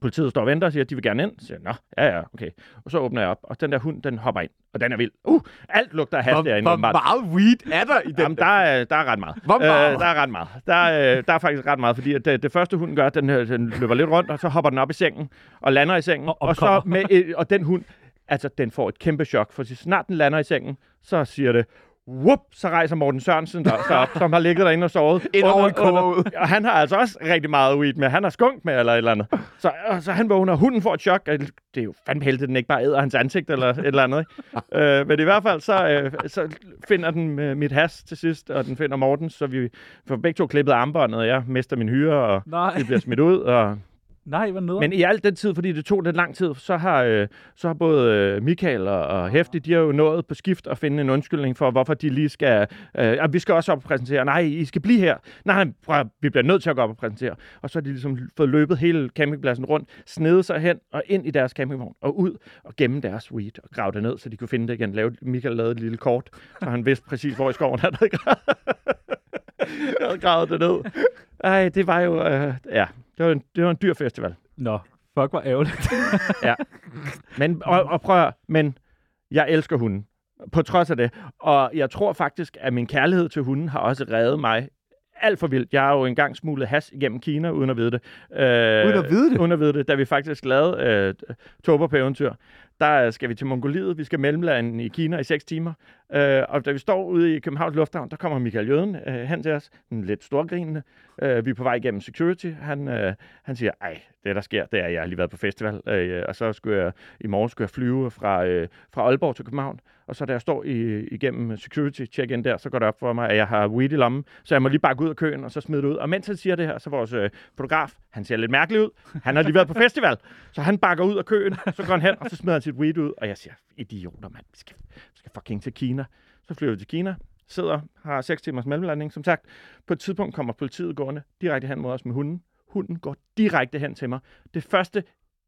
Politiet står og venter og siger, at de vil gerne ind. Så siger jeg, nå, ja, ja, okay. Og så åbner jeg op, og den der hund, den hopper ind, og den er vild. Uh, alt lugter af has
Hvor,
derinde.
hvor
åbenbart.
meget weed er der i den?
Jamen, der er, der er ret meget.
Hvor meget?
Øh, der er ret meget. Der, øh, der er faktisk ret meget, fordi at øh, det, det første hunden gør, den, øh, den løber lidt rundt, og så hopper den op i sengen, og lander i sengen.
Og
og, så
opkommer.
med, øh, og den hund, altså, den får et kæmpe chok, for så snart den lander i sengen, så siger det, Whoop, så rejser Morten Sørensen der, så op, som har ligget derinde og sovet.
Ind
Under-
over en
under-
kogeud.
Og han har altså også rigtig meget weed med. Han har skunk med eller et eller andet. Så, og så han vågner, hunden får et chok. og Det er jo fandme heldigt, at den ikke bare æder hans ansigt eller et eller andet. Ikke? øh, men i hvert fald, så, øh, så finder den øh, mit has til sidst, og den finder Morten, så vi får begge to klippet armbåndet, og jeg mister min hyre, og
Nej,
vi bliver smidt ud. Og...
nej, hvor nederen.
Men i al den tid, fordi det tog lidt lang tid, så har, øh, så har både øh, Michael og, og Hæftig, de har jo nået på skift at finde en undskyldning for, hvorfor de lige skal... Øh, og vi skal også op og præsentere. Nej, I skal blive her. Nej, prøv, at- vi bliver nødt til at gå op og præsentere. Og så har de ligesom fået løbet hele campingpladsen rundt, snedet sig hen og ind i deres campingvogn og ud og gemme deres weed og grave det ned, så de kunne finde det igen. Lave, Michael lavede et lille kort, så han vidste præcis, hvor i skoven han havde gravet, havde gravet det ned. Ej, det var jo... Øh, ja, det var, en, det var en dyr festival.
Nå, fuck, hvor ærgerligt.
Men, og, og prøv at, høre, men jeg elsker hunden, på trods af det. Og jeg tror faktisk, at min kærlighed til hunden har også reddet mig alt for vildt. Jeg har jo engang smuglet has igennem Kina, uden at vide det. Øh,
Uden at vide det?
Uden at vide det, da vi faktisk lavede øh, Tober på eventyr. Der øh, skal vi til Mongoliet, vi skal mellemlande i Kina i 6 timer. Øh, og da vi står ude i Københavns Lufthavn, der kommer Michael Jøden øh, hen til os, sådan lidt storgrinende. Øh, vi er på vej igennem security. Han, øh, han siger, ej, det der sker, det er, at jeg har lige været på festival. Øh, og så skulle jeg, i morgen skulle jeg flyve fra, øh, fra Aalborg til København. Og så da jeg står i, igennem security check-in der, så går det op for mig, at jeg har weed i lommen. Så jeg må lige bakke ud af køen og så smide det ud. Og mens han siger det her, så vores øh, fotograf, han ser lidt mærkelig ud. Han har lige været på festival. Så han bakker ud af køen, så går han hen, og så smider han sit weed ud. Og jeg siger, idioter mand, vi skal, vi skal fucking til Kina. Så flyver vi til Kina, sidder, har 6 timers mellemlanding, som sagt. På et tidspunkt kommer politiet gående direkte hen mod os med hunden. Hunden går direkte hen til mig. Det første,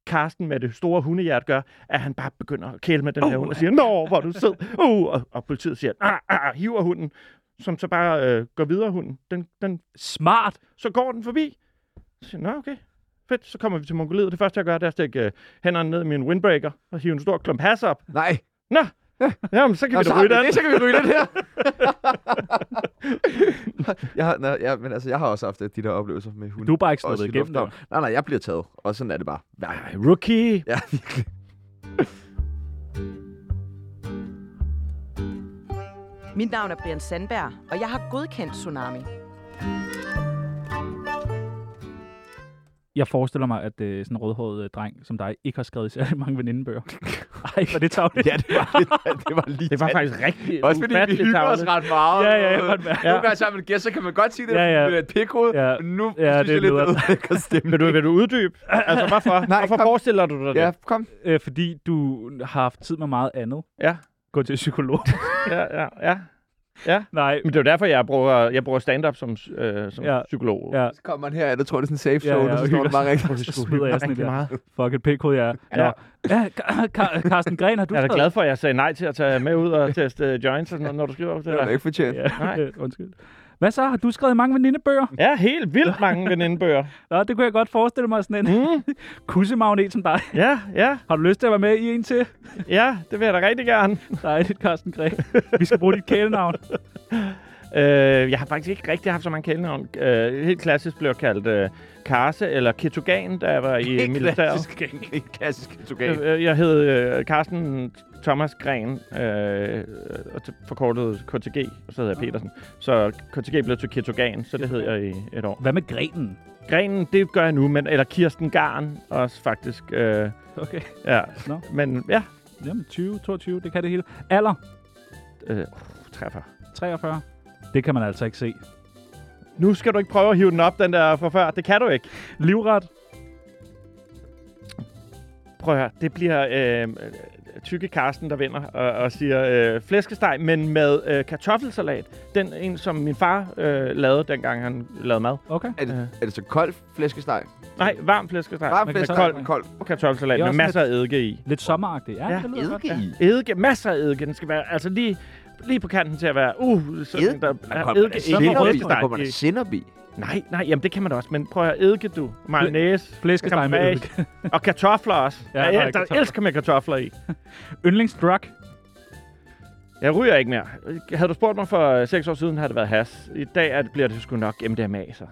Karsten med det store hundehjert gør, at han bare begynder at kæle med den oh, her hund og siger, Nå, hvor er du sød. Uh, og, og politiet siger, ah, ah, hiver hunden, som så bare øh, går videre hunden. Den, den,
Smart.
så går den forbi. Så siger, jeg, Nå, okay. Fedt, så kommer vi til Mongoliet. Det første, jeg gør, det er at stikke øh, hænderne ned i min windbreaker og hive en stor klump has op.
Nej.
Nå, jamen, så kan
Nå,
vi
så
da
har vi
ryge den.
det, så kan vi ryge den her. jeg, har, nej, jeg, men altså, jeg har også haft de der oplevelser med hunde.
Du er bare ikke
Også i
sluppet igennem
lufthavn.
der.
Nej, nej, jeg bliver taget. Og sådan er det bare. Ja,
Ej, Rookie.
ja virkelig.
Mit navn er Brian Sandberg, og jeg har godkendt Tsunami.
Jeg forestiller mig, at øh, sådan en rødhåret øh, dreng som dig ikke har skrevet særlig mange venindebøger. Ej, hvor er det tavligt.
Ja, det var, det, det var lige
Det var
tæt.
faktisk rigtig
Også fordi vi
ufatteligt
hygger os
tarveligt.
ret meget.
Ja, ja, jeg kan godt mærke.
Nogle gange sammen med gæster, så kan man godt sige det,
Ja, ja.
fordi det er et pikhoved.
Ja.
men Nu
Ja,
synes
det
jeg lidt,
lyder-
det ødelægger stemmen.
Vil du, vil du uddybe? Altså, hvorfor?
Nej,
hvorfor
kom.
forestiller du dig det?
Ja, kom.
Øh, fordi du har haft tid med meget andet.
Ja.
Gå til psykolog.
ja, ja, ja. ja.
Nej,
Men det er jo derfor, jeg bruger, jeg bruger stand-up som, øh, som
Ja.
ja. psykolog.
ja.
Så kommer man her, jeg tror, det er sådan en safe zone,
Ja, ja,
og så
og
står
hygger
der bare rigtig.
Så smider jeg sådan
Rigtig
lidt
meget.
Fuck et pk, jeg er. Ja.
Ja.
ja Ka- Ka- Carsten Gren, har du
Jeg er da
skrevet-
glad for, at jeg sagde nej til at tage med ud og teste øh, joints, og sådan noget, når du skriver op det
Det var da
der.
ikke fortjent.
Nej.
Ja, øh, undskyld. Hvad så? Har du skrevet mange venindebøger?
Ja, helt vildt mange venindebøger.
Nå, det kunne jeg godt forestille mig sådan en
Mm.
kussemagnet som dig.
Ja, ja,
Har du lyst til at være med i en til?
ja, det vil jeg da rigtig gerne.
Dejligt, Carsten Gren. Vi skal bruge dit kælenavn.
Øh, jeg har faktisk ikke rigtig haft så mange kælenavn. Øh, helt klassisk blev jeg kaldt øh, Karse eller Ketogan, da jeg var i
Ikke
militæret.
klassisk, ikke klassisk togan.
Øh, øh, Jeg hed øh, Carsten Thomas Gren, øh, og til- forkortet KTG, og så hedder jeg Petersen. Så KTG blev til Ketogan, så det hed jeg i et år.
Hvad med grenen?
Grenen, det gør jeg nu, men, eller Kirsten Garn også faktisk. Øh,
Okay.
ja.
Nå.
Men ja,
Jamen, 20, 22, det kan det hele. Alder?
øh, træffer.
43. Det kan man altså ikke se.
Nu skal du ikke prøve at hive den op, den der fra før. Det kan du ikke.
Livret?
Prøv at høre, det bliver øh, tykke Karsten, der vinder og, og siger øh, flæskesteg, men med øh, kartoffelsalat. Den en, som min far øh, lavede, dengang han lavede mad.
Okay.
Er det, er det så kold flæskesteg?
Nej, varm flæskesteg.
Varm
men
flæskesteg?
kold-
Kold, kold.
Kartoffelsalat
Det er
med
også
masser af eddike i.
Lidt sommeragtigt. Ja,
Ja,
det lyder godt.
Eddike i.
Eddike, masser af eddike. Den skal være altså lige, lige på kanten til at være... Uh, sådan
Eddike?
der,
Der
ja,
kommer der
eddike, eddike,
sinnep i.
flæskesteg.
Der kommer der sinnep i.
Nej, nej, jamen det kan man da også. Men prøv at høre, eddike du. Mayonnaise.
Flæskesteg med
campage,
eddike.
Og kartofler også.
Ja,
ja,
der er
jeg, der
kartofler.
elsker med kartofler i.
Yndlingsdrug?
Jeg ryger ikke mere. Havde du spurgt mig for øh, seks år siden, havde det været has. I dag er det, bliver det sgu nok MDMA, så.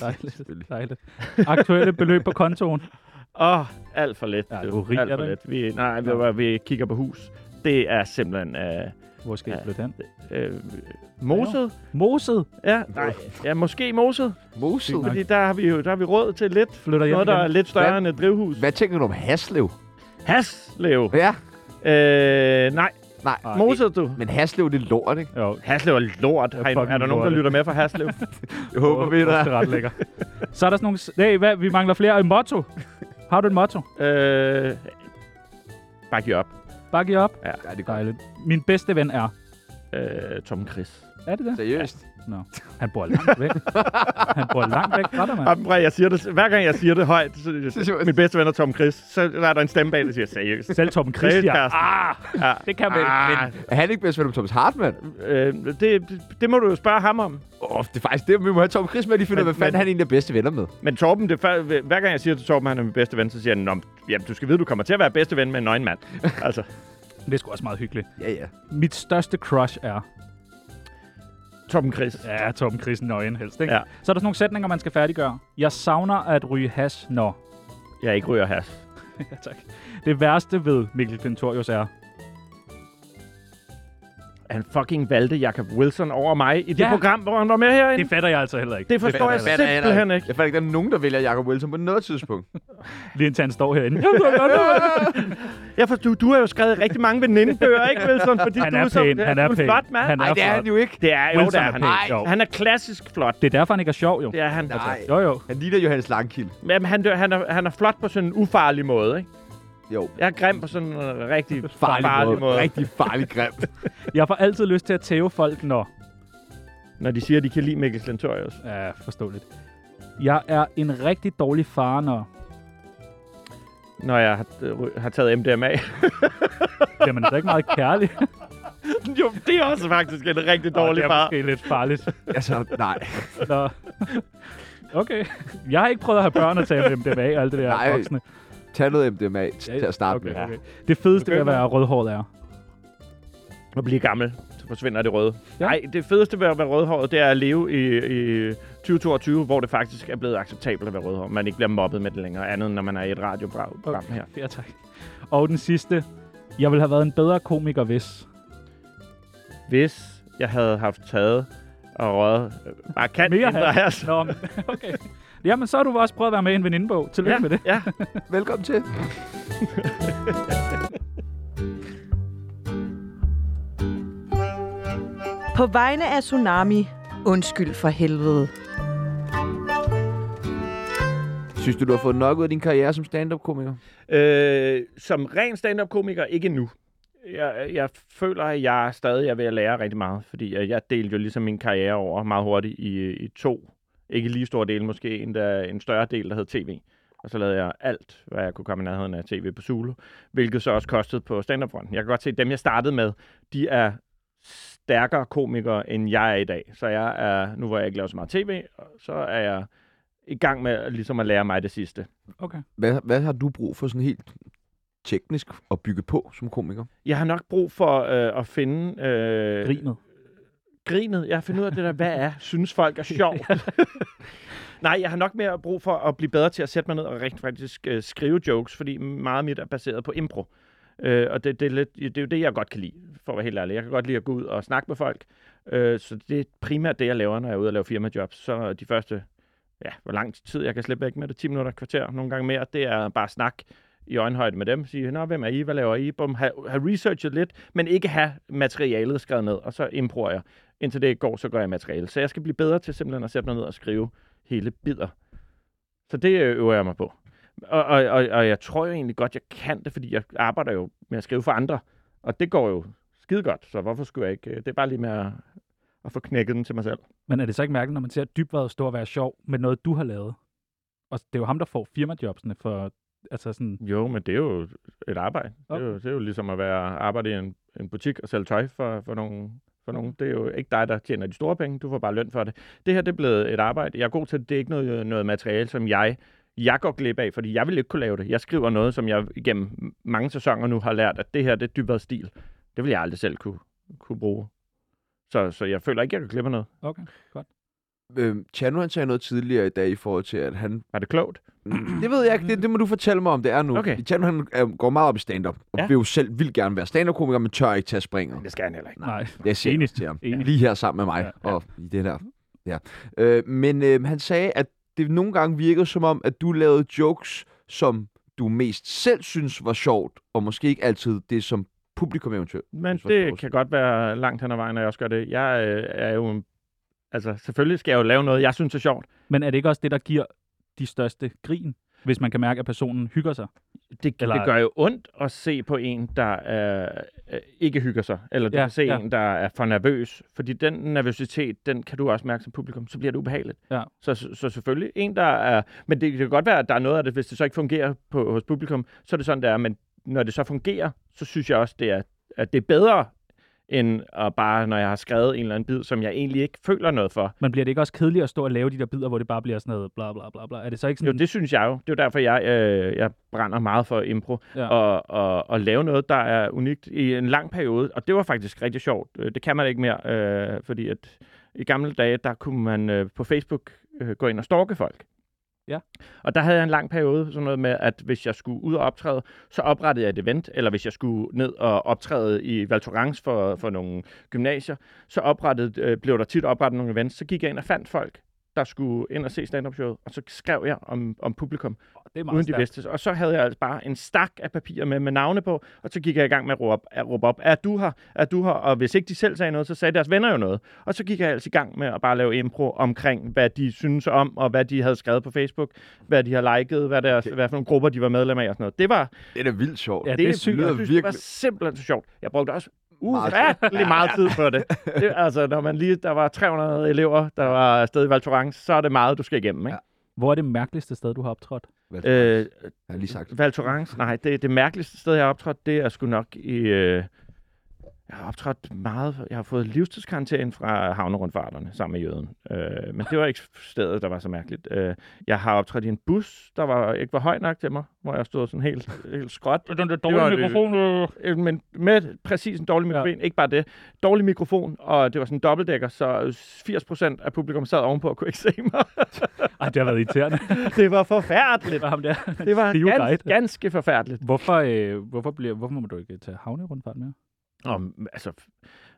Dejligt. Dejligt. Aktuelle beløb på kontoen?
Åh, alt for let.
Ja,
du.
du riger
alt for
dig.
let. Vi, nej, vi, var, vi kigger på hus. Det er simpelthen øh,
Hvor skal jeg
Ja.
flytte hen?
øh, moset.
Moset?
Ja, nej. Ja, måske moset.
Moset.
Fordi der har vi jo der har vi råd til lidt.
Flytter hjem
Noget, der er
igen.
lidt større
Hvad?
end et drivhus.
Hvad tænker du om Haslev?
Haslev.
Ja.
Øh, nej,
Nej.
Nej.
moset du.
Men Haslev, det er lort, ikke?
Jo,
Haslev er lort.
Ja,
Er, er der
fucking
nogen, der
lort.
lytter med fra Haslev?
Jeg håber, vi er
der.
der.
Det er ret lækker. Så er der sådan nogle... s- Nej, hvad? Vi mangler flere. Et motto. Har du et motto?
øh, bare giv op.
Bare giv op.
Ja, det er godt.
Dejligt. Min bedste ven er...
Øh, Tom Chris.
Er det det?
Seriøst.
Han bor langt væk. Han bor langt væk fra dig, mand.
Jamen, prøv, jeg siger det, hver gang jeg siger det højt, så,
Det er sjovt.
min bedste ven er Tom Chris, så er der en stemme bag, der siger, seriøst.
Selv Torben
Seriøst,
Christian.
Carsten?
Ah,
Ja.
det kan man ikke.
Ah,
Er han ikke bedst ven om Thomas Hartmann?
øh, det, det- det må du jo spørge ham om.
Åh, oh, det er faktisk det, vi må have Tom Chris med, de finder,
Men-
hvad fanden
men-
han egentlig er bedste venner med.
Men Torben, det, er fa- hver gang jeg siger til Torben, at han er min bedste ven, så siger han, Nå, jamen, du skal vide, du kommer til at være bedste ven med en nøgen mand. altså,
Det er sgu også meget hyggeligt.
Ja, ja.
Mit største crush er...
Torben Chris.
Ja, Torben Christen nøgen helst, ikke?
Ja.
Ja. Så er der sådan nogle sætninger, man skal færdiggøre. Jeg savner at ryge hash, når...
Jeg ikke ryger has.
ja, tak. Det værste ved Mikkel Klintorius er...
Han fucking valgte Jacob Wilson over mig i det
Ja.
program, hvor han var med herinde.
Det
Det,
fatter jeg altså heller ikke.
det forstår jeg
Jeg fatter heller
simpelthen ikke.
Jeg fandt ikke, der er nogen, der vælger Jacob Wilson på noget tidspunkt.
Lige indtil han står herinde.
Jeg forstår, du, du har jo skrevet rigtig mange venindebøger, ikke Wilson? Fordi
Han
du
er
så,
pæn,
ja,
han er
du en
pæn.
flot mand.
Han
Nej, det er han
flot.
jo ikke.
Det er jo,
Wilson
der
er
han.
pæn,
Ej.
jo.
Han er klassisk flot.
Det er derfor, han ikke er sjov, jo.
Det er han.
Nej.
Jo, jo.
Han ligner Johannes Langkild.
Jamen, han, dør- han, er, han er flot på sådan en ufarlig måde, ikke?
Jo.
Jeg er grim på sådan en øh, rigtig
Farlig,
farlig, farlig måde.
Rigtig farlig grim.
Jeg får altid lyst til at tæve folk, når...
Når de siger, at de kan lide Mikkel Slentorius.
Ja, forståeligt. Jeg er en rigtig dårlig far, når...
Når jeg har, øh, ry- har taget MDMA.
Jamen, det er ikke meget kærlig.
jo, det er også faktisk en rigtig dårlig
det er
far.
måske lidt farligt.
altså, nej.
Nå. Okay. Jeg har ikke prøvet at have børn og tale med dem af og alt det der
Nej.
voksne.
Tag noget MDMA t- til at starte
okay,
med.
okay. Det fedeste ved at
Begynder.
være rødhåret er.
At blive gammel, så forsvinder det røde.
Ja.
Nej, det fedeste ved at være rødhåret, det er at leve i, i 2022, hvor det faktisk er blevet acceptabelt at være rødhåret. Man ikke bliver mobbet med det længere, andet end når man er i et radioprogram okay. her.
Ja, tak. Og den sidste. Jeg ville have været en bedre komiker, hvis...
Hvis jeg havde haft taget og røget øh, bare kan
Mere
mindre her, så...
Nå, men- okay. Jamen, så har du også prøvet at være med i en venindebog. Tillykke
Ja,
med det.
ja.
Velkommen til.
På vegne af Tsunami, undskyld for helvede.
Synes du, du har fået nok ud af din karriere som stand-up-komiker?
Øh, som ren stand-up-komiker, ikke nu. Jeg, jeg føler, at jeg stadig er ved at lære rigtig meget, fordi jeg, jeg delte jo ligesom min karriere over meget hurtigt i, i to. Ikke lige store dele, måske endda en større del, der hed tv. Og så lavede jeg alt, hvad jeg kunne komme i nærheden af tv på Zulu, hvilket så også kostede på stand up -fronten. Jeg kan godt se, at dem, jeg startede med, de er stærkere komikere, end jeg er i dag. Så jeg er, nu hvor jeg ikke laver så meget tv, så er jeg i gang med ligesom at lære mig det sidste.
Okay.
Hvad, hvad har du brug for sådan helt teknisk at bygge på som komiker?
Jeg har nok brug for øh, at finde øh,
Grinet.
grinet. Jeg har fundet ud af det der, hvad er, synes folk er sjovt. Nej, jeg har nok mere brug for at blive bedre til at sætte mig ned og rent faktisk øh, skrive jokes, fordi meget af mit er baseret på impro. Øh, og det, det, er lidt, det er jo det, jeg godt kan lide, for at være helt ærlig. Jeg kan godt lide at gå ud og snakke med folk. Øh, så det er primært det, jeg laver, når jeg er ude og lave firmajobs. Så de første, ja, hvor lang tid jeg kan slippe væk med det, 10 minutter, kvarter, nogle gange mere, det er bare snak i øjenhøjde med dem, sige, nå, hvem er I, hvad laver I? Bum, have, have researchet lidt, men ikke have materialet skrevet ned, og så improver jeg. Indtil det går, så gør jeg materiale. Så jeg skal blive bedre til simpelthen at sætte mig ned og skrive hele bidder. Så det øh, øver jeg mig på. Og, og, og, og jeg tror jo egentlig godt, jeg kan det, fordi jeg arbejder jo med at skrive for andre, og det går jo skide godt, så hvorfor skulle jeg ikke? øh, Det er bare lige med at, at få knækket den til mig selv.
Men er det så ikke mærkeligt, når man ser Dybvad stå og være sjov med noget, du har lavet? Og det er jo ham, der får firmajobsene for... Altså sådan,
Jo, men det er jo et arbejde. Okay. Det, er jo, det er jo ligesom at være arbejde i en, en butik og sælge tøj for, for nogle for nogen. Det er jo ikke dig, der tjener de store penge. Du får bare løn for det. Det her, det er blevet et arbejde. Jeg er god til det. Det er ikke noget, noget materiale, som jeg, jeg går glip af, fordi jeg vil ikke kunne lave det. Jeg skriver noget, som jeg igennem mange sæsoner nu har lært, at det her, det er dybere stil. Det vil jeg aldrig selv kunne, kunne bruge. Så, så jeg føler ikke, jeg kan klippe noget.
okay.
Øhm, Chano, han sagde noget tidligere i dag i forhold til, at han...
Er det klogt?
Det ved jeg ikke, det, det må du fortælle mig om, det er nu.
Okay.
Chano, han øh, går meget op i stand-up, og ja.
Ja.
vil jo selv vil gerne være stand-up-komiker, men tør ikke tage springet.
Det skal han heller ikke.
Nej.
Jeg ser
Enig.
også til ham.
Enig.
Lige her sammen med mig
Ja,
og i det der. Ja. Øh, men øh, han sagde, at det nogle gange virkede som om, at du lavede jokes, som du mest selv synes var sjovt, og måske ikke altid det, som publikum eventuelt.
Men
Hvis man skal
det
huske.
kan godt være langt hen ad vejen, når jeg også gør det. Jeg øh, er jo... en- Altså, selvfølgelig skal jeg jo lave noget, jeg synes er sjovt.
Men er det ikke også det, der giver de største grin, hvis man kan mærke, at personen hygger sig?
Det,
Eller-
Eller... det gør jo ondt at se på en, der øh, øh, ikke hygger sig. Eller du
Ja,
ja, kan se
ja.
ja. en, der er for nervøs. Fordi den nervøsitet, den kan du også mærke som publikum. Så bliver det ubehageligt.
Ja.
Så, så, så selvfølgelig en, der er... Men det, det kan godt være, at der er noget af det, hvis det så ikke fungerer på, hos publikum, så er det sådan, det er. Men når det så fungerer, så synes jeg også, det er, at det er bedre, end at bare, når jeg har skrevet en eller anden bid, som jeg egentlig ikke føler noget for,
Men bliver det ikke også kedeligt at stå og lave de der bidder, hvor det bare bliver sådan noget bla bla bla bla? Er det så ikke
Jo,
sådan...
det synes jeg jo. Det er jo derfor, jeg, øh, jeg brænder meget for impro.
Ja.
Ja. Og, og, og lave noget, der er unikt i en lang periode. Og det var faktisk rigtig sjovt. Øh, Det kan man ikke mere, øh, fordi at i gamle dage, der kunne man øh, på Facebook øh, gå ind og stalke folk.
Ja.
Og der havde jeg en lang periode, sådan noget med, at hvis jeg skulle ud og optræde, så oprettede jeg et event, eller hvis jeg skulle ned og optræde i Val Thorens for, for nogle gymnasier, så oprettede, øh, blev der tit oprettet nogle events, så gik jeg ind og fandt folk, der skulle ind og se stand-up showet, og så skrev jeg om, om publikum,
det er
uden de
stærkt.
vidste. Og så havde jeg altså bare en stak af papirer med, med navne på, og så gik jeg i gang med at råbe op, at råbe op er du her, er du her? Og hvis ikke de selv sagde noget, så sagde deres venner jo noget. Og så gik jeg altså i gang med at bare lave impro omkring, hvad de synes om, og hvad de havde skrevet på Facebook, hvad de har liket, hvad, deres,
Okay.
okay. hvad for nogle grupper de var medlem af og sådan noget. Det var,
Det er da vildt sjovt.
Ja,
Ja.
det er sygt.
jeg
lyder
synes, det var
virkelig-
simpelthen så sjovt. Jeg brugte også
Meget
ufattelig meget tid på det. det. Altså, når man lige, der var 300 elever, der var afsted i Val Thorens, så er det meget, du skal igennem, ikke?
Hvor er det mærkeligste sted, du har optrådt?
Øh,
jeg har lige sagt.
Val Thorens, nej, det, det mærkeligste sted, jeg har optrådt, det er sgu nok i... Øh, jeg har optrådt meget. Jeg har fået livstidskarantæne fra havnerundfarterne sammen med jøden. Øh, men det var ikke stedet, der var så mærkeligt. Øh, jeg har optrådt i en bus, der var, ikke var høj nok til mig, hvor jeg stod sådan helt, helt skråt.
Den der
dårlige var det- mikrofon,
Øh.
Øh, men med præcis en dårlig
Ja.
mikrofon. Ja. Ikke bare det. Dårlig mikrofon, og det var sådan en dobbeltdækker, så 80% af publikum sad ovenpå og kunne ikke se mig.
Ej, det har været irriterende.
det var forfærdeligt.
det var ham der.
Det var
Trio
gans,
guide.
ganske forfærdeligt.
Hvorfor, øh, hvorfor, bliver, hvorfor må du ikke tage havnerundfart mere?
Og, m- altså,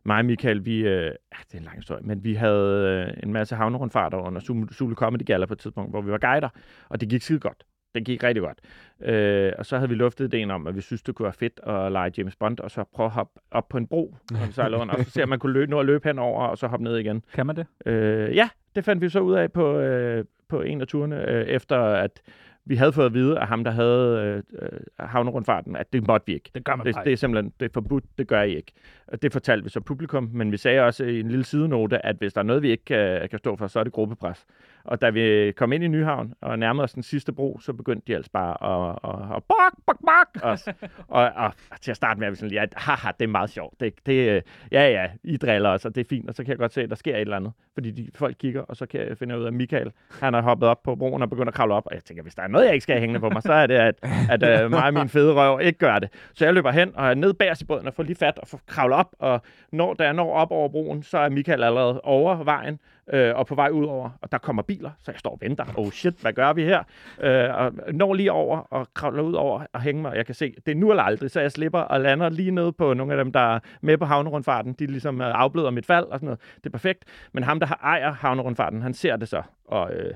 mig og Michael, vi, øh, ah, det er en lang historie, men vi havde øh, en masse havnerundfarter under Su- Zulu Comedy Gala på et tidspunkt, hvor vi var guider, og det gik skide godt. Det gik rigtig godt. Øh, og så havde vi luftet ideen om, at vi synes, det kunne være fedt at lege James Bond, og så prøve at hoppe op på en bro, når vi sejlede under, og så se, om man kunne løbe, nå at løbe henover, og så hoppe ned igen.
Kan man det?
Øh, ja, det fandt vi så ud af på, øh, på en af turene, øh, efter at vi havde fået at vide af ham, der havde øh, øh, havnerundfarten, at det måtte vi ikke.
Det gør man
Det,
bare
det er simpelthen det er forbudt, det gør I ikke. Og det fortalte vi øh, så publikum, men vi sagde også i en lille sidenote, at hvis der er noget, vi ikke kan, kan stå for, så er det gruppepres. Og da vi kom ind i Nyhavn og nærmede os den sidste bro, så begyndte de altså bare at, at, at bok, bok, bok os. Og, og, til at starte med er vi sådan, ja, haha, det er meget sjovt. Det, det, øh, ja, ja, I driller os, og det er fint. Og så kan jeg godt se, at der sker et eller andet. Fordi de, folk kigger, og så kan jeg finde ud af, at Michael, han har hoppet op på broen og begyndt at kravle op. Og jeg tænker, hvis der er noget, jeg ikke skal have hængende på mig, så er det, at, at øh, mig og min fede røv ikke gør det. Så jeg løber hen og er ned bagerst i båden og får lige fat og får kravlet op. Og når, da jeg når op over broen, så er Michael allerede over vejen øh, og på vej ud over, og der kommer biler, så jeg står og venter. Oh shit, hvad gør vi her? Øh, og når lige over og kravler ud over og hænger mig, og jeg kan se, det er nu eller aldrig, så jeg slipper og lander lige nede på nogle af dem, der er med på havnerundfarten. De ligesom øh, afbløder mit fald og sådan noget. Det er perfekt. Men ham, der har- ejer havnerundfarten, han ser det så, og øh,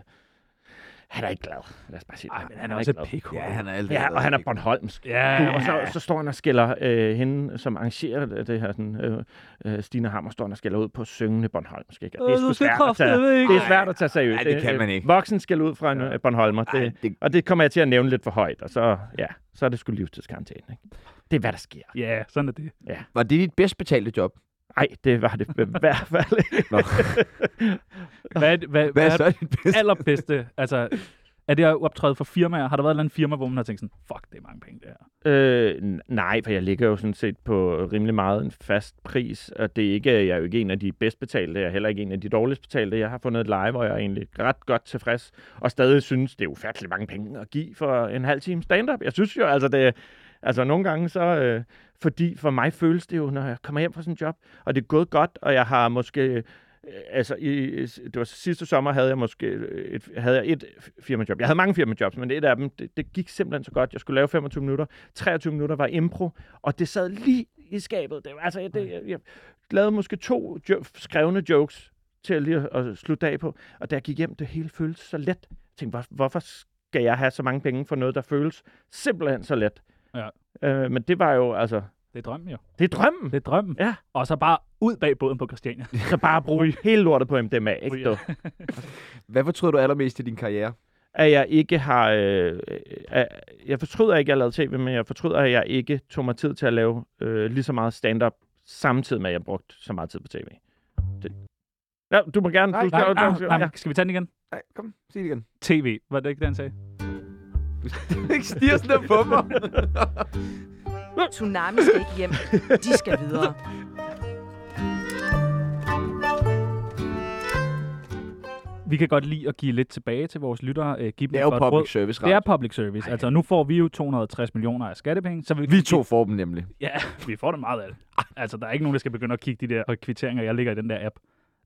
han er ikke glad. Lad os bare sige det.
Nej, men han er
ikke
også
glad.
et pik.
Ja, han er altid
Ja, og han er Bornholmsk.
Ja.
Og så, så står han og skælder øh, hende, som arrangerer det, det her, sådan, øh, øh, Stine Hammer, står han og skælder ud på syngende Bornholmsk. Ikke? Og
Øh,
Det er, sgu
du skal
svært at tage,
kraftedeme ikke.
det er svært at tage seriøst.
Ej, det kan
Øh,
man ikke.
Voksen skal ud fra en øh, Bornholmer. Det,
Ej, det-
Og det kommer jeg til at nævne lidt for højt, og så, ja, så er det sgu livstidskarantæne. Ikke? Det er, hvad der sker.
Ja, sådan er det.
Var det dit bedst betalte job?
Nej, det var det i hvert fald. ikke.
Nå.
Hvad er, det- hvad,
Hvad er
hvad er
så dit bedste?
allerbedste? Altså, er det at optræde for firmaer? Har der været et eller andet firma, hvor man har tænkt sådan, fuck, det er mange penge, det her.
Øh, n- nej, for jeg ligger jo sådan set på rimelig meget en fast pris, og det er ikke, jeg er jo ikke en af de bedst betalte, jeg er heller ikke en af de dårligst betalte. Jeg har fundet et leje, hvor jeg er egentlig ret godt tilfreds, og stadig synes, det er ufattelig mange penge at give for en halv time stand-up. Jeg synes jo, altså det, altså nogle gange så, øh, fordi for mig føles det jo, når jeg kommer hjem fra sådan en job, og det er gået godt, og jeg har måske øh, altså i, det var sidste sommer havde jeg måske øh, et, havde jeg et firmajob. Jeg havde mange firmajobs, men et af dem, det, det gik simpelthen så godt. Jeg skulle lave 25 minutter. 23 minutter var impro, og det sad lige i skabet. Det, var- altså, det, jeg, jeg lavede måske to jo, skrevne jokes til lige at, at slutte af på. Og da jeg gik hjem, det hele føltes så let. Jeg tænkte, hvor, hvorfor skal jeg have så mange penge for noget, der føles simpelthen så let?
Ja.
Øh, men det var jo, altså,
Det er drømmen jo.
det er drømmen.
Det er drømmen.
Ja.
Og så bare ud bag båden på Christiania.
Så bare bruge hele lortet på MDMA, ikke?
Ryger.
Du?
Hvad fortryder du allermest i din karriere?
at jeg ikke har... Øh, øh, jeg fortryder ikke, at jeg lavede tv, men jeg fortryder, at jeg ikke tog mig tid til at lave øh, lige så meget stand-up, samtidig med, at jeg brugte så meget tid på tv. Det. Ja, du må gerne...
Nej,
du,
Nej,
du,
nej,
du,
nej,
ja.
nej, skal vi tage den igen?
Nej, kom, sig det igen.
TV, var det ikke det, han sagde?
Ikke stiger sådan der på mig.
Tsunami skal ikke hjem. De skal videre.
Vi kan godt lide at give lidt tilbage til vores lyttere. Øh, give dem
Det er
et
jo
godt
public
råd.
service
Det er
radio.
public service. Altså, nu får vi jo 260 millioner af skattepenge. Så vil
Vi to får dem nemlig.
Ja, vi får det meget af det. Altså, der er ikke nogen, der skal begynde at kigge de der kvitteringer, jeg ligger i den der app.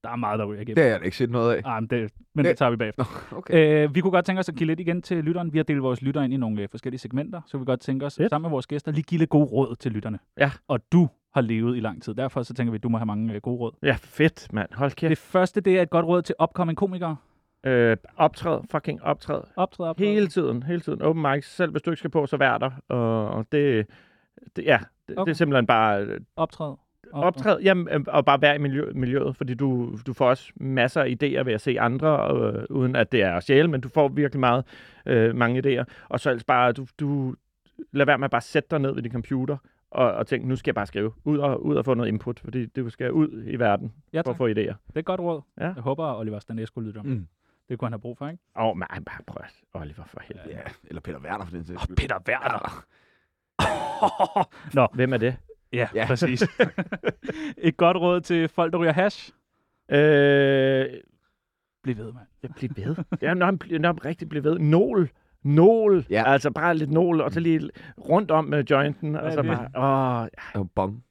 Der er meget, der ryger
Det
igennem.
har jeg da ikke set noget af.
Ah, men det, men det tager vi bagefter.
Okay.
Øh, vi kunne godt tænke os at give lidt igen til lytteren. Vi har delt vores lytter ind i nogle øh, forskellige segmenter, så vi kunne godt tænke os
Fedt.
sammen med vores gæster lige give lidt gode råd til lytterne.
Ja.
Og du har levet i lang tid, derfor så tænker vi, at du må have mange øh, gode råd.
ja, fedt, mand. Hold
Det
kæft.
første, det er et godt råd til opkommende komikere.
Øh, optræd. Fucking optræd.
Optræd, optræd.
Hele tiden. Hele tiden. Open mics. Selv hvis du ikke skal på, så vær der. Og, og det... det ja, det, okay.
Okay.
det er simpelthen bare øh,
Optræd.
Optræd, jamen, øh, og bare være i miljø, miljøet, fordi du, du får også masser af idéer ved at se andre, øh, uden at det er at stjæle, men du får virkelig meget, øh, mange idéer. Og så ellers bare, du, du lad være med at bare sætte dig ned ved din computer, og, og tænke, nu skal jeg bare skrive, ud og, ud og få noget input, fordi du skal ud i verden
Ja,
for
tak.
at få idéer.
Det er et godt råd.
Ja.
Jeg håber, at Oliver Stanesco lytter om.
Mm.
Mm. Det kunne han have brug for, ikke?
Åh, oh, nej, bare prøv, at- Oliver, for helvede.
Ja, eller Peter Werner for den sags skyld.
Peter Werner. Nå,
Hvem er det?
ja,
Ja.
ja. præcis. et godt råd til folk, der ryger hash.
Øh,
Bliv ved, mand.
Jeg bliver ved. ja, når han, bl- når han rigtig bliver ved. Nål. Nål.
Ja.
Ja. Altså bare lidt nål, og så lige rundt om med jointen.
Hvad
Og
er
så
det?
bare, åh,
Er hun bong?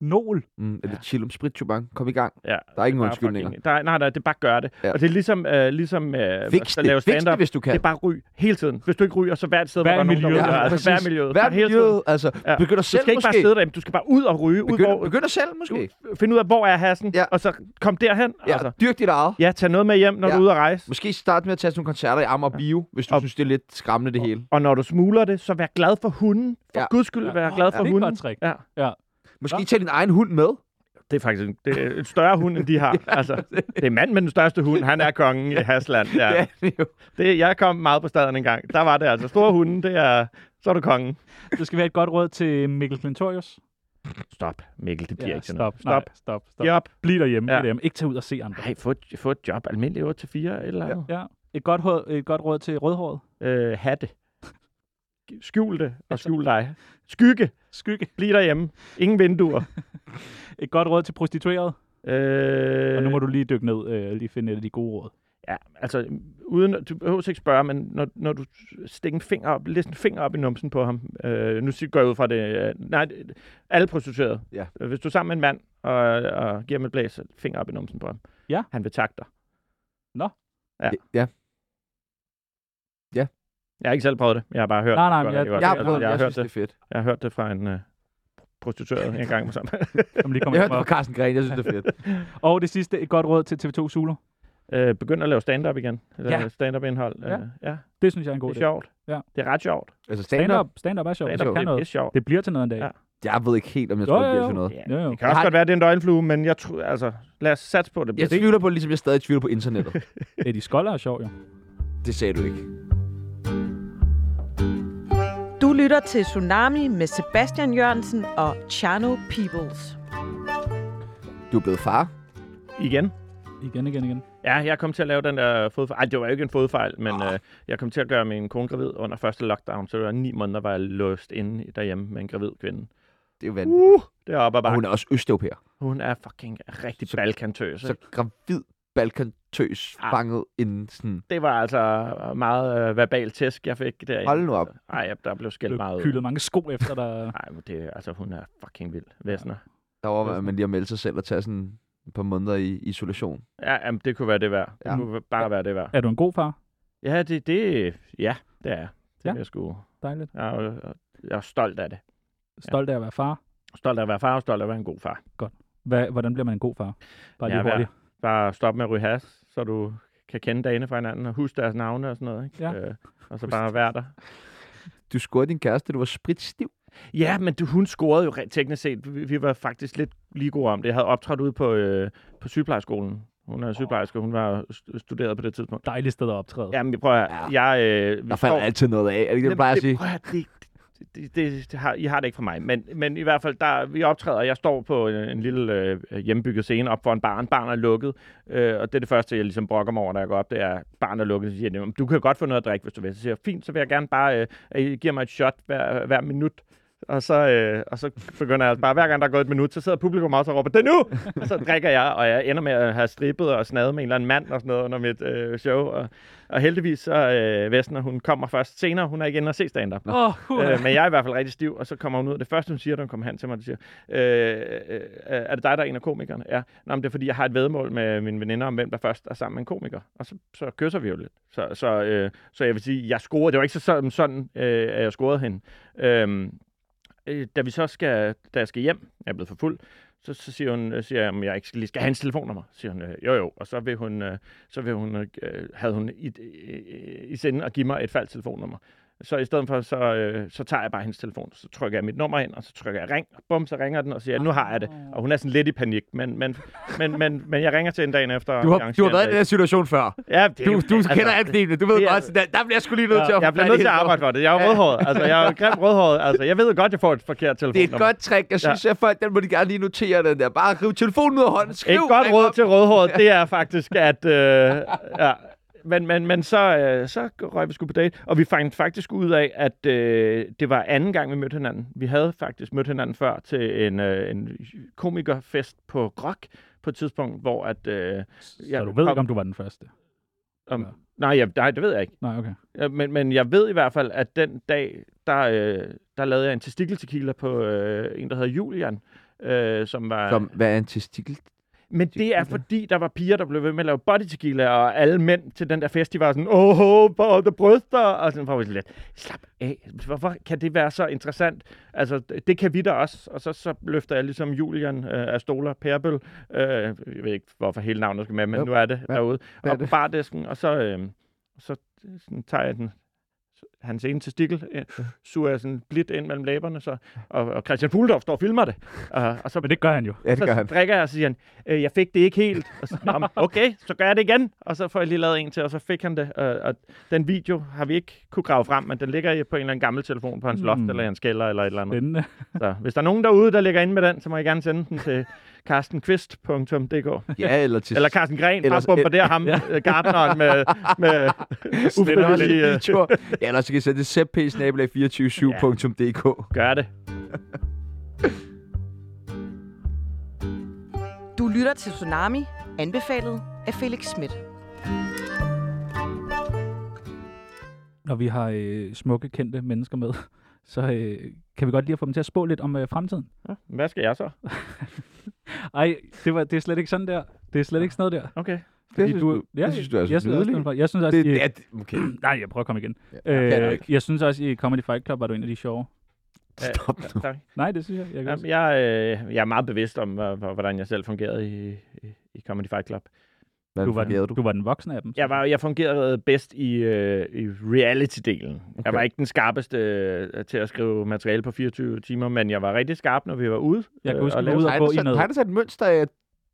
Nol.
Mm, eller chill om spritjubang. Kom i gang.
ja.
Der er ingen
Bare
undskyldninger.
fucking- Der, er- nej, nej, det er bare gør det.
Ja.
Ja. Og det er ligesom, øh, ligesom øh,
Fix
at
det.
lave
Fix det,
stand-up.
hvis du kan.
Det er bare ryg hele tiden. Hvis du ikke ryger, så hvert sted,
Vær
hvor der er
i
nogen, der
miljøet.
ryger.
Ja,
altså,
præcis.
vær miljøet.
Vær
Bare hele tiden.
miljøet, altså.
Ja.
Begynd at
Du
selv
skal ikke
måske.
bare sidde derhjemme. Du skal bare ud og ryge. Ud,
Begynd,
hvor,
begynd at selv måske.
Finde ud af, hvor er hassen,
Ja.
ja. og så kom derhen.
Ja,
Altså.
dyrk dit eget.
ja, tag noget med hjem, når
Ja.
du er ude at rejse.
Måske starte med at tage sådan nogle koncerter i Amager Bio, hvis du
Og-
synes, det er lidt skræmmende det hele.
Og når du smuler det, så vær glad for hunden. For
Ja.
ja. guds skyld,
Ja.
vær glad
Åh, det
for
er et
hunden.
godt trick.
Ja.
Måske
Nå.
tage din egen hund med.
Det er faktisk en, det er en større hund, end de har. altså, det er mand med den største hund. Han er kongen i Hasland. Ja.
det er jo.
Det, jeg kom meget på staden en gang. Der var det altså. Store hunde, det er, så er du kongen.
Det skal være et godt råd til Mikkel Klintorius.
Stop, Mikkel, det bliver
Ja,
ikke sådan
stop,
noget.
stop, nej,
Stop,
stop, stop.
stop.
Bliv derhjemme,
Ja.
ja. derhjemme. Ikke tag ud og se andre.
Nej, få et, få et job. Almindelig 8 til 4 eller andet.
Ja. Et godt, råd, et godt råd til rødhåret.
Øh, have det. Skjul det, og skjul dig. Skygge,
Skygge.
bliv derhjemme. Ingen vinduer.
Et godt råd til prostitueret.
Øh,
Og nu må du lige dykke ned øh, lige finde et af de gode råd.
Ja, altså, uden, du behøver ikke spørge, men når, når du stikker en finger op, læser en finger op i numsen på ham, øh, nu sig- går jeg ud fra det, øh, nej, det- alle prostituerede. Øh,
Ja.
Hvis du er sammen med en mand, og, og giver ham et blæs, så finger op i numsen på ham.
Ja.
Han vil takke dig.
Ja. ja.
Jeg har ikke selv prøvet det, jeg har bare hørt
Nej, nej,
det.
men jeg-
godt,
Jeg har
altså,
prøvet,
jeg,
jeg,
har
synes,
hørt
det er
det.
fedt.
jeg har hørt det fra en øh, prostitueret en gang. med sammen.
Som lige kommer
Jeg
hjem
hørte det
op.
fra Carsten Gren, jeg synes, det er fedt.
Og det sidste, et godt råd til TV2 Zulu.
øh, begynd at lave stand-up igen. Eller
Ja.
ja. Stand-up-indhold.
Ja.
Øh, ja,
Det synes jeg er en god
det er
idé.
sjovt.
Ja.
Det er ret sjovt.
Altså stand-up,
Stand-up stand er sjovt.
Stand-up,
Stand kan
det er
noget.
pisse sjovt.
Det bliver til noget en dag.
Ja.
jeg ved ikke helt, om jeg
Jo,
tror,
jo,
det bliver
jo.
til noget.
Ja,
Jo, jo.
Det kan også
har-
godt være, det er en døgnflue, men jeg tror, altså, lad os satse på, at det bliver
Jeg tvivler på, ligesom jeg stadig tvivler på internettet.
Eddie Skoller er sjov, jo.
Det sagde du ikke.
Du lytter til Tsunami med Sebastian Jørgensen og Chano Peoples.
Du er blevet far.
igen.
Igen, igen, igen.
Ja, jeg kom til at lave den der fodfejl. Ej, det var jo ikke en fodfejl, men
Ah.
øh, jeg kom til at gøre min kone gravid under første lockdown, så det var ni måneder, var jeg låst inde i- derhjemme med en gravid kvinde.
Det er jo vanvittigt.
Uh, det er op ad
Og hun
bakke.
er også østeuropæer.
Hun er fucking rigtig
Så-
balkantøs.
Så
Altså ikke?
gravid balkantøs
Ah.
fanget inden sådan...
Det var altså meget øh, verbal tæsk, jeg fik derinde.
Hold nu op.
Ej, jeg- der blev skældt
Du
meget ud.
kylet mange sko efter dig.
Nej, men det, altså, hun er fucking vild, Væsner.
Der overvejer man lige at melde sig selv og tage sådan et par måneder i isolation.
Ja, jamen, det kunne være det værd. Det
Ja.
kunne bare være det værd.
Er du en god far?
Ja, det, det, ja, det er jeg. det.
Ja.
vil Jeg, sgu,
Dejligt.
jeg, er, jo- jeg er stolt af det.
Stolt af at være far.
Stolt af at være far, og stolt af at være en god far.
Hva, hvordan bliver man en god far? Bare lige
Ja, vær-
hurtigt.
bare stop med at ryge has, så du kan kende dagene fra hinanden, og huske deres navne og sådan noget. Ikke?
Ja.
Øh, og så
Husk
bare være der.
Du scorede din kæreste, du var spritstiv.
Ja, men du, hun scorede jo rent teknisk set. Vi, vi var faktisk lidt lige gode om det. Jeg havde optrådt ude på, øh, på sygeplejerskolen. Hun er sygeplejerske, hun var jo st- studeret på det tidspunkt.
Dejligt sted at optræde.
Jamen, prøv at høre. Jeg, øh, vi
Der falder
står-
altid noget af. Er det ikke det, du
Jamen,
plejer at sige?
prøv at høre, det, det, det, det har, I har det ikke fra mig, men, men i hvert fald, der, vi optræder, og jeg står på en, en lille øh, hjemmebygget scene op for en barn. Barn er lukket, øh, og det er det første, jeg ligesom brokker mig over, da jeg går op, det er, barn er lukket. Så siger de, "Jamen, du kan godt få noget at drikke, hvis du vil. Så siger jeg, fint, så vil jeg gerne bare, øh, at I giver mig et shot hver, hver minut. Og så, øh, og så begynder jeg bare, hver gang der er gået et minut, så sidder publikum også og råber, det er nu! Og så drikker jeg, og jeg ender med at have strippet og snadet med en eller anden mand og sådan noget under mit øh, show. Og, og heldigvis så øh, Vestner, hun kommer først senere, hun er ikke inde og se stand-up.
Åh, oh,
Øh, men jeg er i hvert fald rigtig stiv, og så kommer hun ud. Det første, hun siger, da hun kommer hen til mig, det siger, øh, øh, er det dig, der er en af komikerne? Ja. Nå, men det er, fordi jeg har et vedmål med mine veninder om, hvem der først er sammen med en komiker. Og så, så kysser vi jo lidt. Så, så, øh, så jeg vil sige, jeg scorede. Det var ikke så sådan, sådan øh, at jeg scorede hende. Øhm, øh, da vi så skal, da jeg skal hjem, jeg er blevet for fuld, så, så siger hun, øh, siger jeg, om jeg ikke skal, lige skal have hendes telefonnummer. Så siger hun, øh, jo jo, og så vil hun, øh, så vil hun, øh, havde hun i, øh, i sinde at give mig et falsk telefonnummer. Så i stedet for, så, øh, så tager jeg bare hendes telefon, så trykker jeg mit nummer ind, og så trykker jeg ring, og bum, så ringer den, og siger, nu har jeg det. Og hun er sådan lidt i panik, men, men, men, men, men jeg ringer til en dagen efter.
Du
og
har, du har
arrangerer
været i
en
den her situation før.
dag. Ja, det,
Du, du
altså,
kender alt det. Du ved
det er-
godt, der, der bliver jeg sgu lige nødt til at...
Jeg bliver nødt til at arbejde for det. Jeg er jo rødhåret. Altså, jeg er jo grimt rødhåret. Altså, jeg ved godt, jeg får et forkert telefonnummer.
Det er et godt trick. Jeg synes, at folk, den må de gerne lige notere den der. Bare rive telefonen ud af hånden. Skriv,
Et godt
ring
råd
op.
til rødhåret, det er faktisk, at... Øh, ja. Men, men, men så, øh, så røg vi sgu på date, og vi fandt faktisk ud af, at øh, det var anden gang, vi mødte hinanden. Vi havde faktisk mødt hinanden før til en, øh, en komikerfest på Rock på et tidspunkt, hvor at... Øh,
Så
jeg
du ved
kom-
ikke, om du var den første.
om,
Ja.
nej, jeg, nej, det ved jeg ikke.
Nej, okay.
Ja, Men, men jeg ved i hvert fald, at den dag, der, øh, der lavede jeg en testikeltequila på øh, en, der hedder Julian, øh, som var...
Som, hvad er en testikel?
Men det er
Tequila.
fordi, der var piger, der blev ved med at lave body tequila, og alle mænd til den der fest, de var sådan, åh, oh, oh, the bryster, og sådan var vi sådan lidt, slap af, hvorfor kan det være så interessant? Altså, det det kan vi da også, og så, så løfter jeg ligesom Julian øh, af stoler, Perbøl, øh, jeg ved ikke, hvorfor hele navnet skal med, men
Jo.
nu er det
Ja.
derude,
Hvad er
op på
det?
bardisken, og så, øh, så sådan, tager jeg den, hans ene testikkel øh, suger sådan blidt ind mellem læberne, så, og, og Christian Fuldorf står og filmer det. Og, og så,
Men det gør han jo.
Ja, det gør
så
han.
drikker jeg, og så siger han, øh, jeg fik det ikke helt. Og så, "Nå, men okay, så gør jeg det igen. Og så får jeg lige lavet en til, og så fik han det. Og, og den video har vi ikke kunne grave frem, men den ligger i- på en eller anden gammel telefon på hans loft,
Mm.
eller i hans kælder, eller et eller andet.
Spændende.
Så hvis der er nogen derude, der ligger inde med den, så må I gerne sende den til karstenquist.dk.
Ja, eller til
Eller Carsten Gren,
Ellers-
bare bombarderer ham, ja. gardneren, med, med ufrivillige... øh,
videoer. Ja, eller så kan I sende det zepp-247.dk.
Gør det.
Du lytter til Tsunami, anbefalet af Felix Schmidt.
Når vi har øh, smukke, kendte mennesker med, så øh, kan vi godt lige at få dem til at spå lidt om øh, fremtiden.
Nå, Hvad skal jeg så?
Ej, det, var, det er slet ikke sådan der. Det er slet ikke sådan noget der.
Okay.
Det
Fordi
synes
du,
du- det synes du er så
jeg synes også,
nydelig.
den var- jeg synes også,
Det,
I-
det, er, okay.
Nej, jeg prøver at komme igen.
Ja, kan du
Øh,
ikke.
jeg synes også, i Comedy Fight Club var du en af de sjove.
Stop
Ja,
nu.
tak.
Nej, det synes jeg. jeg kan
Jamen,
også.
jeg, øh, jeg er meget bevidst om, hvor- hvor- hvordan jeg selv fungerede i, i- i Comedy Fight Club.
Hvad
Du var,
fungerede du?
den, du var den voksne af dem.
Jeg, var, jeg fungerede bedst i, øh, i reality-delen. Okay. Jeg var ikke den skarpeste øh, til at skrive materiale på 24 timer, men jeg var rigtig skarp, når vi var ude.
Jeg kan
øh,
huske,
og
vi var
lavede-
ude og-
Har
gå
der
i
sat,
noget.
har der sat et mønster af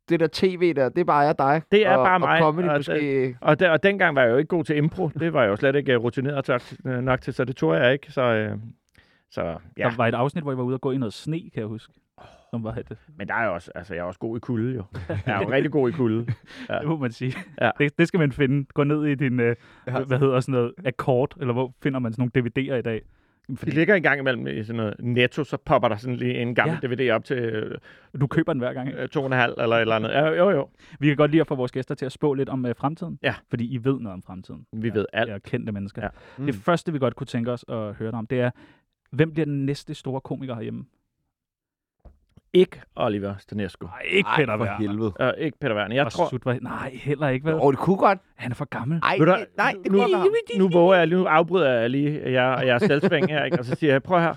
det der tv der? Det er bare jeg og dig.
Det er
og,
bare
Og
mig,
comedy
og
måske.
Og, der, og dengang var jeg jo ikke god til impro. Det var jeg jo slet ikke øh, rutineret tak- øh, nok til, så det tog jeg ikke. Så, øh, så ja,
Der var et afsnit, hvor jeg var ude og gå i noget sne, kan jeg huske. Som var det.
men der er jo også, altså, jeg er også god i kulde jo. Jeg er jo rigtig god i kulde. Ja.
Det må man sige.
Ja.
Det, det skal man finde. Gå ned i din, øh,
Ja.
hvad hedder sådan noget, akkord, eller hvor finder man sådan nogle DVD'er i dag?
De
Fordi
ligger en gang imellem i sådan noget netto, så popper der sådan lige en gammel ja. DVD op til øh,
du køber den hver gang. ikke?
øh, to og en halv eller et eller andet. Ja, jo, jo.
Vi kan godt lide at få vores gæster til at spå lidt om øh, fremtiden.
Ja.
Fordi I ved noget om fremtiden.
Vi ved alt.
Jeg kendte mennesker.
Ja.
Mm. Det første, vi godt kunne tænke os at høre dig om, det er, hvem bliver den næste store komiker herhjemme?
Ikke Oliver Stanescu.
Nej, ikke Peter
Ej, for
Werner.
helvede.
Og ikke Peter Werner. Jeg
Og
tror...
Sutva- Nej, heller ikke, vel?
Åh, det kunne godt.
Han er for gammel.
Ej,
Ved du,
det- nej, det
nu,
kunne godt.
nu, nu våger jeg, nu afbryder jeg lige jer og jeres selvsving her, ikke? og så siger jeg, prøv her,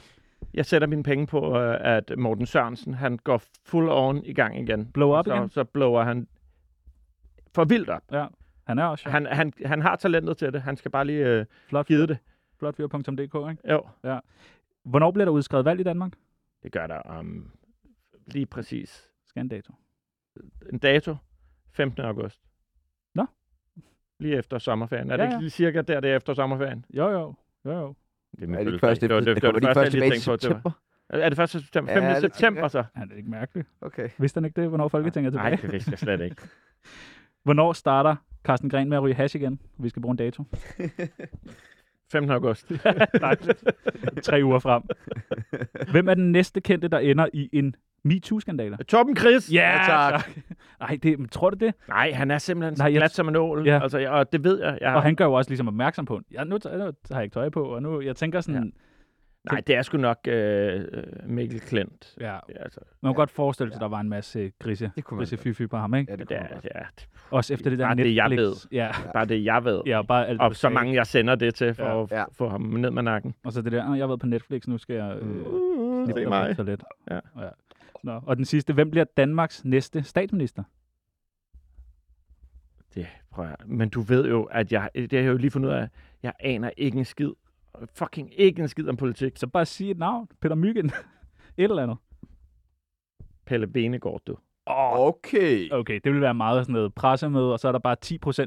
jeg sætter mine penge på, øh, at Morten Sørensen, han går full on i gang igen.
Blow up
så,
igen.
Så blower han for vildt op.
Ja, han er også sjov.
Han, han, han har talentet til det, han skal bare lige øh,
Flot,
give det.
flotfyr.dk, ikke?
Jo,
Hvornår bliver der udskrevet valg i Danmark?
det gør der om um, lige præcis
Skandato.
en dato, 15. august.
Nå.
Lige efter sommerferien. Er
Ja,
det
ja.
ikke lige cirka der, det er efter sommerferien?
Jo, jo. Jo, jo.
Det er
Er det
fødselsdag.
ikke først efter?
var-
Det
var
kommer de ikke
første,
først
jeg
tilbage
lige
i
tænkte på, det var-
september?
Er det 1. september?
Ja,
5.
det tænker
september
jeg.
så?
Han er det ikke mærkeligt.
Okay.
Vidste han ikke det, hvornår Folketinget er
Nej,
tilbage?
det vidste jeg slet ikke.
Hvornår starter Carsten Gren med at ryge hash igen? Vi skal bruge en dato.
15. august.
Nej, tre uger frem. Hvem er den næste kendte, der ender i en MeToo-skandale?
Torben Chris!
Ja, tak. Nej, det, men tror du det?
Nej, han er simpelthen
Nej,
Nej,
jeg-
glat som en ål.
Ja.
Ja. Altså, jeg- og det ved jeg. jeg
Og han gør jo også ligesom opmærksom på, ja, nu, tager- nu har jeg ikke tøj på, og nu, jeg tænker sådan,
Nej, det er sgu nok øh, øh, Mikkel Klint.
ja, ja
Altså,
man kan godt forestille sig, at der var en masse grise,
Det kunne man
grise
godt.
fy på ham, ikke?
Ja, det
det
kunne man
er,
godt.
ja, det
Også efter det der
Bare det,
Netflix.
jeg
Ja,
er bare det, jeg ved. Ja.
ja, og bare alt.
Og
du
så
sagde.
mange, jeg sender det til, for
Ja.
ja. at
Ja.
f- få ham ned med nakken.
Og så det der, "Åh, jeg har været på Netflix, nu skal jeg øh,
Uh,
slippe
det er
mig
mig.
så lidt.
Ja.
ja. Nå, og den sidste, hvem bliver Danmarks næste statsminister?
Det, prøv at, men du ved jo, at jeg, det har jeg jo lige fundet ud af, jeg aner ikke en skid. Fucking ikke en skid om politik.
Så bare sige et navn, Peter Myggen, et eller andet.
Pelle Benegård, du.
Åh,
Okay.
okay, det vil være meget sådan noget pressemøde, og så er der bare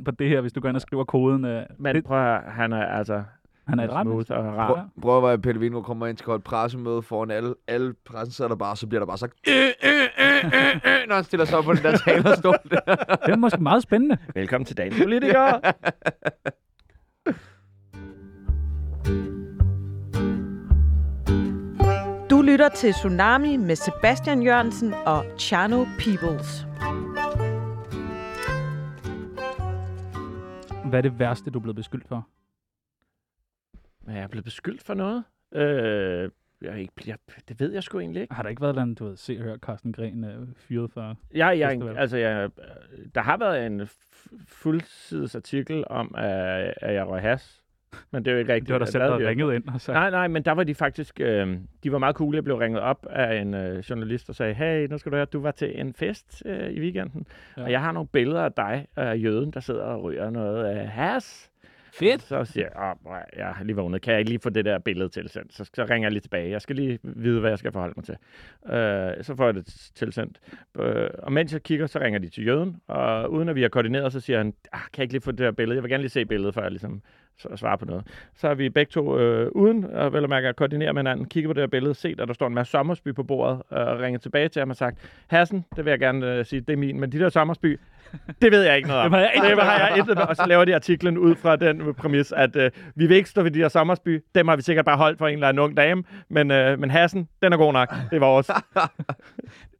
10% på det her, hvis du går ind og skriver koden. Øh,
Men
det,
prøv at, høre, han er altså
han er et ret
smooth og rar.
Prøv, prøv at være, at Pelle Vingård kommer ind til et pressemøde foran alle, alle pressen, så, er der bare, så bliver der bare sagt, øh, øh, øh, øh, øh, når han stiller sig op på den der talerstol. der.
Det er måske meget spændende.
Velkommen til dagens politikere.
Du lytter til Tsunami med Sebastian Jørgensen og Chano Peoples.
Hvad er det værste, du er blevet beskyldt for?
Men jeg er blevet beskyldt for noget. Øh, jeg er ikke, jeg, det ved jeg sgu egentlig ikke.
Har der ikke været et eller andet, du ved, se og hør Carsten Gren øh, fyret for?
Jeg, jeg,
Festival.
altså, jeg, der har været en f- fuldsides artikel om, at, at jeg røg has. Men det er jo ikke rigtigt.
Det var der
Jeg
selv,
lavede
der
det jo.
ringede ind og sagde,
Nej, nej, men der var de faktisk, øh, de var meget cool. Jeg blev ringet op af en øh, journalist, der sagde, hey, nu skal du høre, du var til en fest øh, i weekenden,
Ja.
ja. og jeg har nogle billeder af dig og af jøden, der sidder og ryger noget øh, has.
Fedt.
Så siger jeg, "Åh, nej, jeg har lige vågnet, kan jeg ikke lige få det der billede tilsendt? Så, så ringer jeg lige tilbage, jeg skal lige vide, hvad jeg skal forholde mig til. Øh, så får jeg det tilsendt. Øh, og mens jeg kigger, så ringer de til jøden, og uden at vi har koordineret, så siger han, ah, kan jeg ikke lige få det der billede? Jeg vil gerne lige se billedet, før jeg ligesom s- svarer på noget. Så er vi begge to øh, uden, og vel at mærke at koordinere med hinanden, kigger på det her billede, set, at der står en masse Sommersby på bordet, øh, og ringer tilbage til ham og sagt, Hassen, det vil jeg gerne øh, sige, det er min, men de der Sommersby, det ved jeg ikke noget
Dem
om.
har jeg intet
det har jeg intet med. Og så laver de artiklen ud fra den præmis, at øh, vi vil ikke stå ved de der Sommersby, dem har vi sikkert bare holdt for en eller anden ung dame, men, øh, men Hassen, den er god nok, det var vores.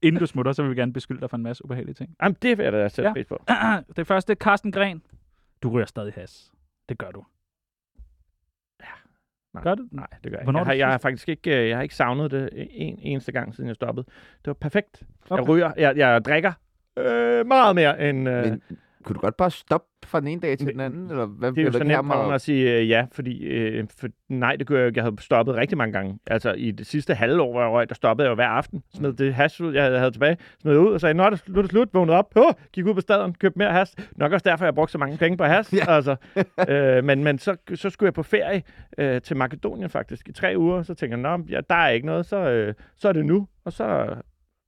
Inden du smutter, så vil vi gerne beskylde dig for en masse ubehagelige ting.
Jamen, det vil jeg da sætte
Ja.
ja. pris på.
Det første, Carsten Gren. Du ryger stadig has. Det gør du. Ja.
Nej.
Gør du?
Nej, det gør jeg ikke.
Hvornår
Jeg har,
er det
jeg har
sidst?
faktisk ikke, øh, jeg har ikke savnet det en eneste gang, siden jeg stoppede. Det var perfekt. Okay. Jeg
Okay.
ryger, jeg, jeg drikker øh, meget mere end... Øh,
Men kunne du godt bare stoppe fra den ene dag til
det-
den anden? Eller hvad
det er jo
eller
så
kan
nemt for mig
man-
at sige øh, ja, fordi øh, for, nej, det gør jeg ikke. Jeg havde stoppet rigtig mange gange. Altså i det sidste halve år, hvor jeg røg, der stoppede jeg jo hver aften.
Mm.
Smed det hash ud, jeg havde, havde tilbage. Smed det ud og sagde, nå, det er slut, det er slut. Vågnede op, oh, gik ud på staden, købte mere hash. Nok også derfor, jeg brugte så mange penge på hash.
Ja.
ja. altså, øh, men men så, så skulle jeg på ferie øh, til Makedonien faktisk i tre uger. Så tænker jeg, nå, ja, der er ikke noget, så, øh, så er det nu. Og så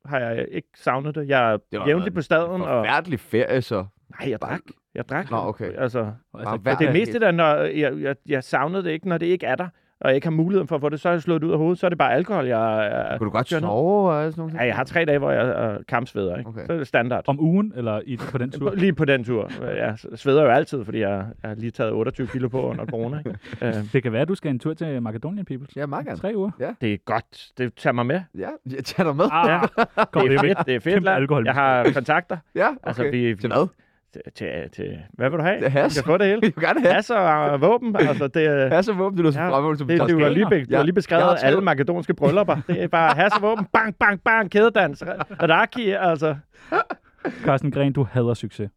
har jeg ikke savnet det. Jeg
Det
er
var
jævnligt på staden.
En
Og,
forfærdelig ferie, så.
nej, jeg drak. Jeg drak.
Nå, okay.
Altså,
Bare
Altså,
hver
og det er
dag.
mest det der, når jeg, jeg, jeg savnede det ikke, når det ikke er der, og jeg ikke har muligheden for at få det, så er jeg slået det ud af hovedet, så er det bare alkohol, jeg... jeg
Kunne du godt
kører ned.
sove og sådan noget?
Ja, jeg har tre dage, hvor jeg øh, kampsveder, ikke?
Okay.
Okay. Så er det standard.
om ugen, eller i, på den tur.
Lige på den tur. Jeg sveder jo altid, fordi jeg, jeg har lige taget 28 kilo på under corona. Ikke? øh,
Det kan være, at du skal en tur til Macedonian Peoples.
Ja,
altså.
meget gerne.
Tre uger.
det er godt. Det tager mig med.
Ja, jeg tager dig med.
Ah, Kom,
Det
det
er
væk.
fedt. Det er fedt.
Kæmpe
land.
alkohol.
Jeg har kontakter.
Ja, okay.
altså, vi-
Til hvad?
Til, til, til, hvad vil du have?
Ja, has.
Du kan få det hele.
Vi vil gerne have.
Has og øh, våben. Altså, det, øh,
Ja, så våben, du løser
Ja,
ja, fremme, som
Det, det, var lige, be, du
Ja.
har lige beskrevet
Jeg har
ja,
taget-
alle makedonske bryllupper. Det er bare has og våben, bang, bang, bang, kædedans, radaki, altså.
Carsten Gren, du hader succes.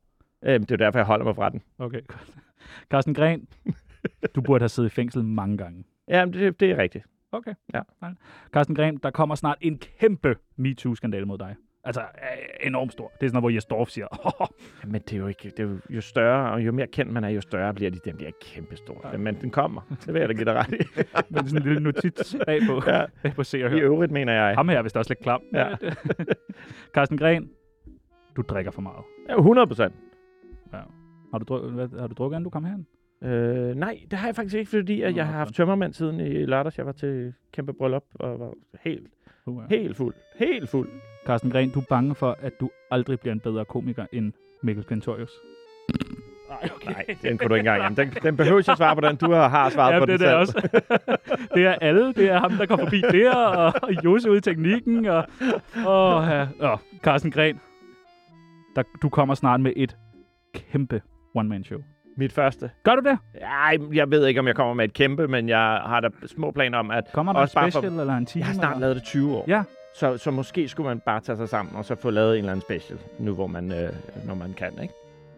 Øhm, det er jo derfor, jeg holder mig fra den.
Okay, godt. Carsten Gren, du burde have siddet i fængsel mange gange.
Ja, det, det er rigtigt.
Okay.
Ja.
Fine. Carsten Gren, der kommer snart en kæmpe MeToo-skandale mod dig. Altså, øh, enormt stor. Det er sådan noget, hvor Jes Dorf siger,
Men det er jo ikke, det er jo, jo større, og jo mere kendt man er, jo større bliver de. Den bliver ikke kæmpestor. Ja. Men den kommer. Det vil jeg da give dig ret i.
med sådan en lille notits bagpå.
Ja.
på se og
I
hør.
øvrigt mener jeg.
Ham her er vist også lidt klam.
Ja.
Carsten Gren, du drikker for meget.
Ja, 100 procent.
Har du, dru- hvad, har du drukket, inden du kom herhen?
Øh, nej, det har jeg faktisk ikke, fordi at
Nå,
jeg har haft tømmermand siden i lørdags. Jeg var til kæmpe bryllup og var helt,
Uh, ja.
helt fuld. Helt fuld.
Carsten Gren, du er bange for, at du aldrig bliver en bedre komiker end Mikkel Klintorius. Nej, okay.
Nej, den kunne du ikke engang. Jamen, den, den behøver jeg svare på den. Du har, har svaret
Ja,
på
det er
den
det
selv.
også. det er alle. Det er ham, der kommer forbi der, og, og Jose ude i teknikken, og, og, ja, og Carsten Gren. Der, du kommer snart med et kæmpe one-man-show.
Mit første.
Gør du det?
Ej, jeg ved ikke, om jeg kommer med et kæmpe, men jeg har da små planer om, at
Kommer der en
Også bare for-
special eller en time?
jeg har snart
eller?
lavet det 20 år.
Ja.
Så, så måske skulle man bare tage sig sammen, og så få lavet en eller anden special, nu hvor man, øh, når man kan, ikke?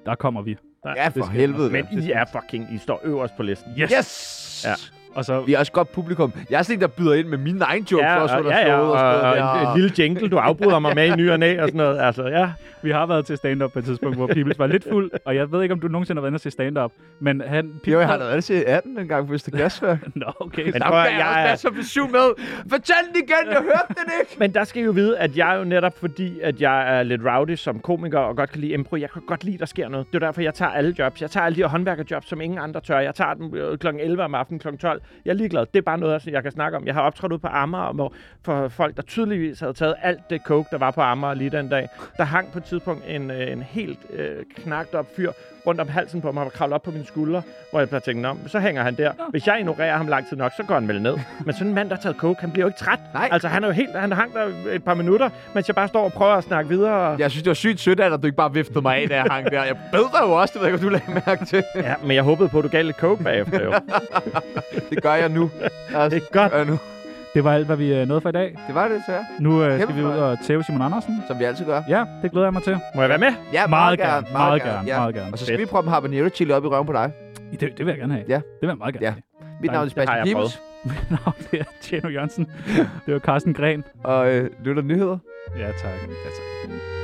Der kommer vi.
Nej,
Ja, for helvede.
Men I er fucking, I står øverst på listen.
Yes!
Yes!
Ja.
Ja.
Og så,
Vi er også godt publikum. Jeg er sådan en, der byder ind med mine egen jokes
Ja,
også,
og,
under
ja, ja,
showet
og,
sådan
og,
noget der.
en, en lille jingle, du afbryder mig med i ny og næ og sådan noget. Altså, ja.
vi har været til stand-up på et tidspunkt, hvor Pibels var lidt fuld, og jeg ved ikke, om du nogensinde har været inde og se stand-up, men han...
Jo, jeg har
Pibels-
da været til 18 en gang på Øster Glasværk.
Nå, okay.
Men
Der
prøv at-
kan jeg
jeg
også
er-
være så besøg med. Fortæl den igen, jeg hørte den ikke.
Men der skal I jo vide, at jeg jo netop fordi, at jeg er lidt rowdy som komiker og godt kan lide impro, jeg kan godt lide, der sker noget. Det er derfor, jeg tager alle jobs. Jeg tager alle de her håndværkerjobs, som ingen andre tør. Jeg tager dem øh, kl. 11 om aftenen, kl. 12. Jeg er ligeglad. Det er bare noget, altså, jeg kan snakke om. Jeg har optrådt ud på Amager, hvor for folk, der tydeligvis havde taget alt det coke, der var på Amager lige den dag. Der hang på et tidspunkt en, øh, en helt øh, knagt op fyr rundt om halsen på mig og kravlede op på mine skuldre, hvor jeg bare tænkte, "Nå, så hænger han der. Hvis jeg ignorerer ham lang tid nok, så går han vel ned. Men sådan en mand, der har taget coke, han bliver jo ikke træt.
Nej.
Altså, han er jo helt, han hang der et par minutter, mens jeg bare står og prøver at snakke videre.
Jeg synes, det var sygt sødt af dig, at du ikke bare viftede mig af, da jeg hang der. Jeg bed dig jo også, det ved jeg ikke, om du lagde mærke til.
ja men jeg håbede på, at du gav lidt coke bagefter, jo.
Det gør jeg nu. Altså,
Det er godt.
gør jeg nu.
Det var alt, hvad vi øh, nåede for i dag.
Det var det, så
Nu øh, skal
Kæmpe
vi ud
fornøjelse.
og tæve Simon Andersen.
Som vi altid gør.
Ja, det glæder jeg mig til.
Må jeg være med?
Ja,
Meget gerne, meget gerne,
ja.
meget gerne.
Og så skal vi prøve en habanero chili op i røven på dig.
Det, det vil jeg gerne have.
Ja.
Det vil jeg meget gerne
Ja.
have.
Mit navn er
Det
Sebastian
har jeg
Pibels,
Mit navn det er Tjerno Jørgensen. Det var Carsten Gren.
og øh, lytter nyheder.
Ja, tak.
Ja, tak.